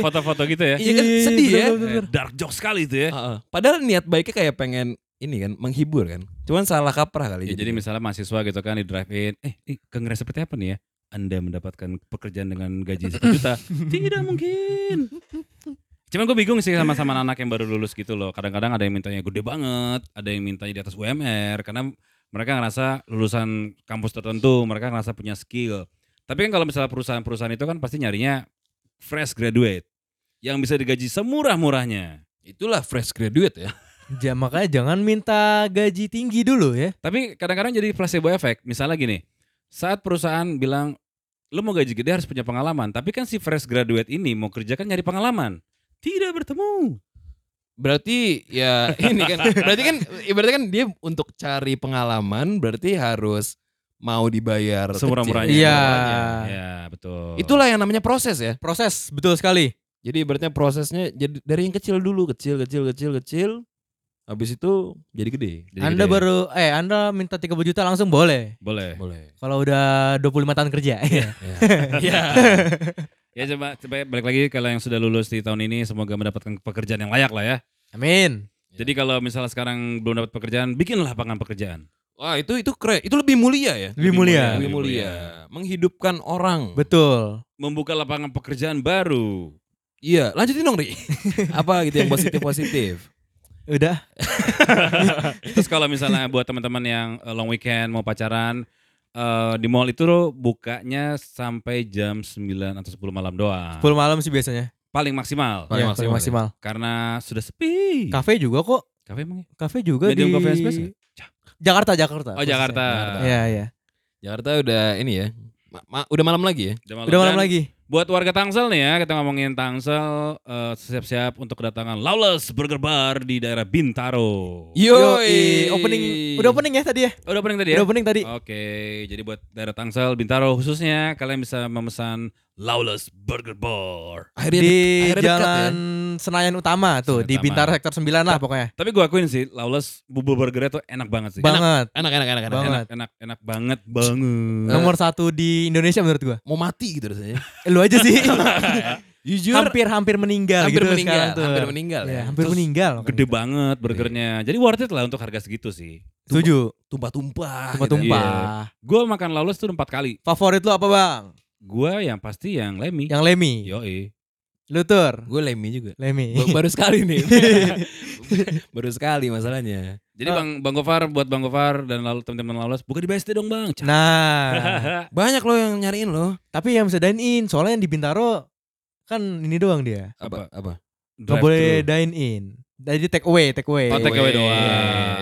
Speaker 1: Foto-foto gitu ya.
Speaker 3: Iya kan sedih ya.
Speaker 1: Eh, Dark joke sekali itu ya.
Speaker 3: Heeh. Padahal niat baiknya kayak pengen ini kan menghibur kan. Cuman salah kaprah kali gitu
Speaker 1: Ya, jadi misalnya mahasiswa gitu kan di drive in, eh ini kongres seperti apa nih ya? Anda mendapatkan pekerjaan dengan gaji 1 juta? Tidak mungkin. Cuman gue bingung sih sama-sama anak yang baru lulus gitu loh. Kadang-kadang ada yang mintanya gede banget, ada yang mintanya di atas UMR karena mereka ngerasa lulusan kampus tertentu, mereka ngerasa punya skill. Tapi kan kalau misalnya perusahaan-perusahaan itu kan pasti nyarinya fresh graduate yang bisa digaji semurah-murahnya.
Speaker 3: itulah fresh graduate ya.
Speaker 2: Ja, makanya jangan minta gaji tinggi dulu ya.
Speaker 1: Tapi kadang-kadang jadi placebo effect. Misalnya gini, saat perusahaan bilang lu mau gaji gede harus punya pengalaman, tapi kan si fresh graduate ini mau kerja kan nyari pengalaman. Tidak bertemu.
Speaker 3: Berarti ya ini kan berarti kan berarti kan dia untuk cari pengalaman berarti harus mau dibayar kecil.
Speaker 1: Semurah-murahnya.
Speaker 3: ya.
Speaker 2: Iya.
Speaker 1: Iya, betul.
Speaker 3: Itulah yang namanya proses ya.
Speaker 2: Proses betul sekali.
Speaker 3: Jadi ibaratnya prosesnya jadi dari yang kecil dulu, kecil kecil kecil kecil habis itu jadi gede. Jadi gede.
Speaker 2: anda
Speaker 3: ya?
Speaker 2: baru eh Anda minta 30 juta langsung boleh.
Speaker 1: boleh.
Speaker 3: boleh.
Speaker 2: Kalau udah 25 tahun kerja. Iya.
Speaker 1: Ya coba coba balik lagi kalau yang sudah lulus di tahun ini semoga mendapatkan pekerjaan yang layak lah ya.
Speaker 2: Amin.
Speaker 1: Jadi kalau misalnya sekarang belum dapat pekerjaan, bikin lapangan pekerjaan.
Speaker 3: Wah, itu itu keren. Itu lebih mulia ya.
Speaker 2: Lebih mulia.
Speaker 3: Lebih mulia. Menghidupkan orang.
Speaker 2: Betul.
Speaker 1: Membuka lapangan pekerjaan baru.
Speaker 3: Iya, lanjutin dong, Ri. Apa gitu yang positif-positif?
Speaker 2: Udah.
Speaker 1: Terus kalau misalnya buat teman-teman yang eh, long weekend mau pacaran eh, di mall itu loh bukanya sampai jam 9 atau 10 malam doang.
Speaker 2: 10 malam sih biasanya.
Speaker 1: Paling Ah. maksimal Iya.
Speaker 3: Paling
Speaker 2: Ya,
Speaker 3: maksimal ya.
Speaker 2: maksimal.
Speaker 1: karena sudah sepi.
Speaker 2: Kafe juga kok.
Speaker 1: Kafe emang ya?
Speaker 2: Kafe juga
Speaker 1: Medium
Speaker 2: di
Speaker 1: Coffee and Espresso ya?
Speaker 2: Jakarta, Jakarta.
Speaker 1: Oh Jakarta.
Speaker 2: Iya, iya.
Speaker 3: Jakarta udah ini ya. ma- ma- udah malam lagi ya.
Speaker 2: Udah malam
Speaker 1: Dan
Speaker 2: lagi.
Speaker 1: Buat warga Tangsel nih ya, kita ngomongin Tangsel eh, siap-siap untuk kedatangan Lawless Burger Bar di daerah Bintaro.
Speaker 2: Yoi, opening udah opening ya tadi ya?
Speaker 1: Udah opening tadi ya?
Speaker 2: Udah opening tadi.
Speaker 1: Oke, jadi buat daerah Tangsel, Bintaro khususnya kalian bisa memesan Lawless Burger Bar.
Speaker 3: Akhirnya
Speaker 2: Di
Speaker 3: dek- akhirnya ya? dekat
Speaker 2: Jalan Senayan Utama tuh,
Speaker 1: Senayan
Speaker 2: di
Speaker 1: Utama.
Speaker 2: Bintara sektor 9 lah pokoknya.
Speaker 1: Tapi gue akuin sih, Lawless bubur burgernya tuh enak banget sih. Enak,
Speaker 2: Banget.
Speaker 3: ya. Enak enak enak enak.
Speaker 2: Bang.
Speaker 1: enak,
Speaker 2: banget.
Speaker 1: enak, enak banget, banget.
Speaker 2: Nomor satu di Indonesia menurut gua.
Speaker 3: Mau mati gitu rasanya.
Speaker 2: Eh, Lu aja sih.
Speaker 3: Jujur
Speaker 2: Hampir-hampir Iya. meninggal
Speaker 3: hampir
Speaker 2: gitu
Speaker 3: meninggal,
Speaker 2: sekarang tuh.
Speaker 3: hampir meninggal
Speaker 2: Iya,
Speaker 3: ya.
Speaker 2: hampir
Speaker 3: Terus
Speaker 2: meninggal.
Speaker 1: Gede banget burgernya. Jadi worth it lah untuk harga segitu sih.
Speaker 2: Setuju.
Speaker 3: Tumpah-tumpah. gitu
Speaker 2: Tumpah-tumpah.
Speaker 1: Gue makan Lawless tuh empat kali.
Speaker 2: Favorit lu apa, Bang?
Speaker 1: Gue yang pasti yang Lemmy.
Speaker 2: Yang Lemi.
Speaker 1: Yoi.
Speaker 2: Lutur.
Speaker 3: ya. Gue lemi juga.
Speaker 2: Lemi.
Speaker 3: Ba- Baru sekali nih. Baru sekali masalahnya.
Speaker 1: Jadi Bang Bang Gofar buat Bang Gofar dan lalu teman-teman Lawless buka di BSD dong Bang. Cak.
Speaker 2: Nah,
Speaker 3: Banyak loh yang nyariin loh.
Speaker 2: tapi yang bisa dine in, soalnya yang di Bintaro kan ini doang dia.
Speaker 1: Apa?
Speaker 3: Apa? Apa?
Speaker 2: Gak
Speaker 1: Drive-thru.
Speaker 2: boleh dine in. Jadi take away, take away.
Speaker 1: Oh, take away doang.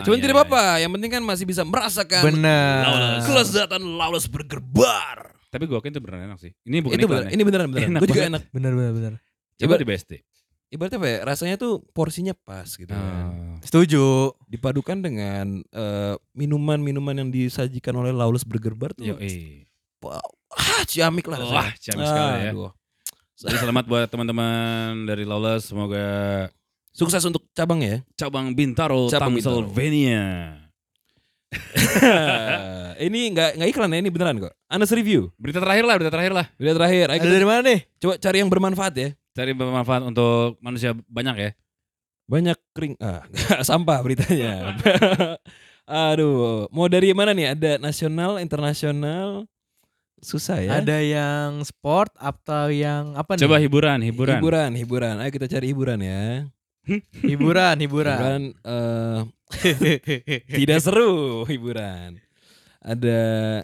Speaker 3: Cuman
Speaker 1: Iya, iya.
Speaker 3: tidak apa-apa, yang penting kan masih bisa merasakan
Speaker 2: Bener.
Speaker 1: Lawless.
Speaker 3: kelezatan Lawless Burger Bar. Itu
Speaker 1: Tapi gue akuin itu beneran enak sih. Ini bukan
Speaker 3: bener,
Speaker 1: iklan ya.
Speaker 3: ini beneran beneran.
Speaker 1: Enak
Speaker 3: Gue juga
Speaker 1: banget.
Speaker 3: enak.
Speaker 2: Bener, bener, bener.
Speaker 1: Coba
Speaker 3: Coba
Speaker 1: di BSD.
Speaker 3: ibaratnya apa ya? Rasanya tuh porsinya pas gitu. kan.
Speaker 1: Ah.
Speaker 2: Setuju.
Speaker 3: Dipadukan dengan eh, minuman-minuman yang disajikan oleh Lawless Burger Bar tuh.
Speaker 1: Yoi.
Speaker 3: Wow. Ah, ciamik lah rasanya.
Speaker 1: Wah, ciamik sekali ya.
Speaker 3: Aduh.
Speaker 1: Jadi selamat buat teman-teman dari Lawless. Semoga
Speaker 3: Sukses untuk cabangnya ya.
Speaker 1: cabang Bintaro
Speaker 3: Cabang
Speaker 1: Tangsylvania.
Speaker 3: ini nggak nggak iklan ya, ini beneran kok. Anas review.
Speaker 1: Berita terakhir lah, berita terakhir lah.
Speaker 3: Udah terakhir, ayo
Speaker 2: Ada
Speaker 3: kita
Speaker 2: dari mana nih?
Speaker 3: coba cari yang bermanfaat ya.
Speaker 1: Cari bermanfaat untuk manusia banyak ya.
Speaker 3: Banyak kering ah sampah beritanya. Aduh, mau dari mana nih? Ada nasional, internasional. Susah ya.
Speaker 2: Ada yang sport atau yang apa nih?
Speaker 1: Coba hiburan, hiburan.
Speaker 3: hiburan, hiburan. Ayo kita cari hiburan ya.
Speaker 2: hiburan, hiburan.
Speaker 3: Hiburan eh, tidak seru hiburan. Ada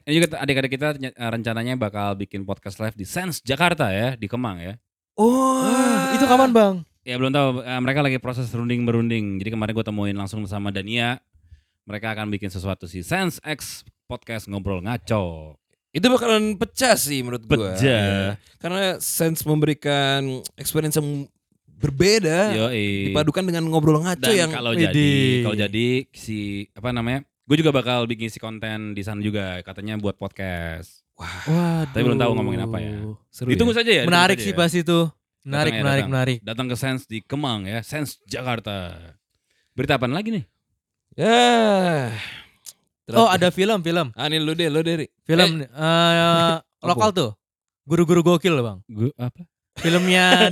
Speaker 1: Ini juga adik-adik kita ny- eh, rencananya bakal bikin podcast live di Sense Jakarta ya, di Kemang ya.
Speaker 3: oh,
Speaker 2: Wah, itu kapan, Bang?
Speaker 1: Ya belum tahu eh, mereka lagi proses runding berunding. Jadi kemarin gue temuin langsung sama Dania. Mereka akan bikin sesuatu sih. Sense X podcast ngobrol ngaco.
Speaker 3: Itu bakalan pecah sih menurut gua.
Speaker 1: Pecah.
Speaker 3: Iya. Karena sense memberikan experience yang berbeda
Speaker 1: Yoi.
Speaker 3: dipadukan dengan ngobrol ngaco
Speaker 1: Dan
Speaker 3: yang
Speaker 1: kalau
Speaker 2: Widih.
Speaker 1: jadi kalau jadi si apa namanya? Gue juga bakal bikin si konten di sana juga katanya buat podcast.
Speaker 2: Wah,
Speaker 1: Tapi belum tahu ngomongin apa ya.
Speaker 3: seru.
Speaker 1: Ditunggu
Speaker 3: ya.
Speaker 1: saja ya. ditunggu
Speaker 2: Menarik
Speaker 1: saja
Speaker 2: sih
Speaker 1: ya.
Speaker 2: pasti itu.
Speaker 1: Datang
Speaker 2: Menarik,
Speaker 1: ya,
Speaker 2: menarik,
Speaker 1: datang.
Speaker 2: menarik.
Speaker 1: Datang ke Sense di Kemang ya, Sense Jakarta. Berita apa lagi nih?
Speaker 3: Ya.
Speaker 2: Oh, ada film, film.
Speaker 3: Ah, ini lu deh, lu deh. Ri.
Speaker 2: Film eh, lokal tuh. Guru-guru gokil, Bang.
Speaker 1: Gue apa?
Speaker 2: Filmnya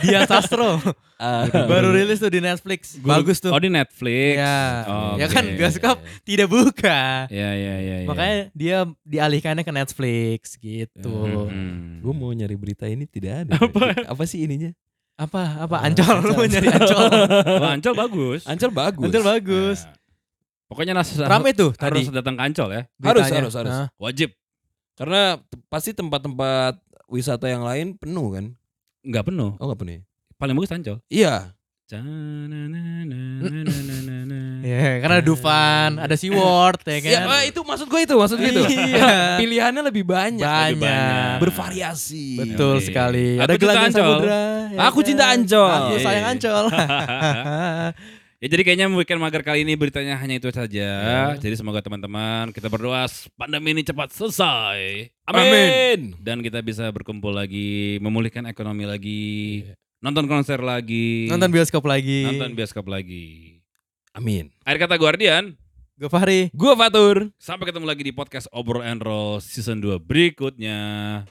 Speaker 2: Dia Sastro
Speaker 3: Ah,
Speaker 2: baru rilis tuh di Netflix. Bagus tuh.
Speaker 1: Oh di Netflix.
Speaker 2: Iya.
Speaker 1: Oh,
Speaker 2: Ya kan,
Speaker 1: oke.
Speaker 2: bioskop. Tidak buka.
Speaker 1: Iya iya iya. Hmm, iya.
Speaker 2: Makanya dia dialihkannya ke Netflix gitu.
Speaker 1: Mm-mm.
Speaker 3: Gue mau nyari berita ini tidak ada.
Speaker 1: Apa?
Speaker 3: Apa sih ininya?
Speaker 2: Apa apa
Speaker 3: Eh,
Speaker 2: ancol lu
Speaker 3: Ancol.
Speaker 2: mau nyari ancol.
Speaker 1: Oh, Ancol bagus.
Speaker 3: Ancol bagus.
Speaker 2: Ancol bagus.
Speaker 1: Nah, Pokoknya nas-
Speaker 2: Rame tuh
Speaker 1: Iya. harus
Speaker 2: tadi.
Speaker 1: datang ke Ancol ya.
Speaker 3: Harus,
Speaker 2: beritanya.
Speaker 3: harus, harus.
Speaker 2: Nah,
Speaker 1: Wajib.
Speaker 3: Karena te- pasti tempat-tempat wisata yang lain penuh kan?
Speaker 1: Enggak penuh.
Speaker 3: Oh nggak penuh. ya?
Speaker 1: Paling bagus Ancol.
Speaker 3: Iya.
Speaker 1: Cananananananana.
Speaker 2: Iya, karena ada Dufan, ada Seaworld ya kan.
Speaker 3: Ya, wah, itu maksud gue itu, maksud gue itu.
Speaker 2: Iya.
Speaker 3: Pilihannya lebih banyak.
Speaker 2: Banyak.
Speaker 3: Bervariasi.
Speaker 2: Betul
Speaker 1: Oke.
Speaker 2: sekali.
Speaker 1: Aku
Speaker 2: Ada
Speaker 1: cinta
Speaker 2: gelandang
Speaker 1: Ancol.
Speaker 2: samudra. ya
Speaker 3: Aku
Speaker 2: kan?
Speaker 3: cinta Ancol.
Speaker 2: Aku sayang
Speaker 1: Yeay.
Speaker 2: Ancol.
Speaker 1: Ya jadi kayaknya weekend mager kali ini beritanya hanya itu saja.
Speaker 2: Iya.
Speaker 1: Jadi semoga teman-teman kita berdoa pandemi ini cepat selesai. Dan kita bisa berkumpul lagi, memulihkan ekonomi lagi, nonton konser lagi,
Speaker 2: Nonton bioskop lagi.
Speaker 1: nonton bioskop lagi.
Speaker 3: Amin.
Speaker 1: Akhir kata Guardian,
Speaker 2: Gue Fahri.
Speaker 3: Gue Fatur.
Speaker 1: sampai ketemu lagi di podcast Obrol and Roll season 2 berikutnya.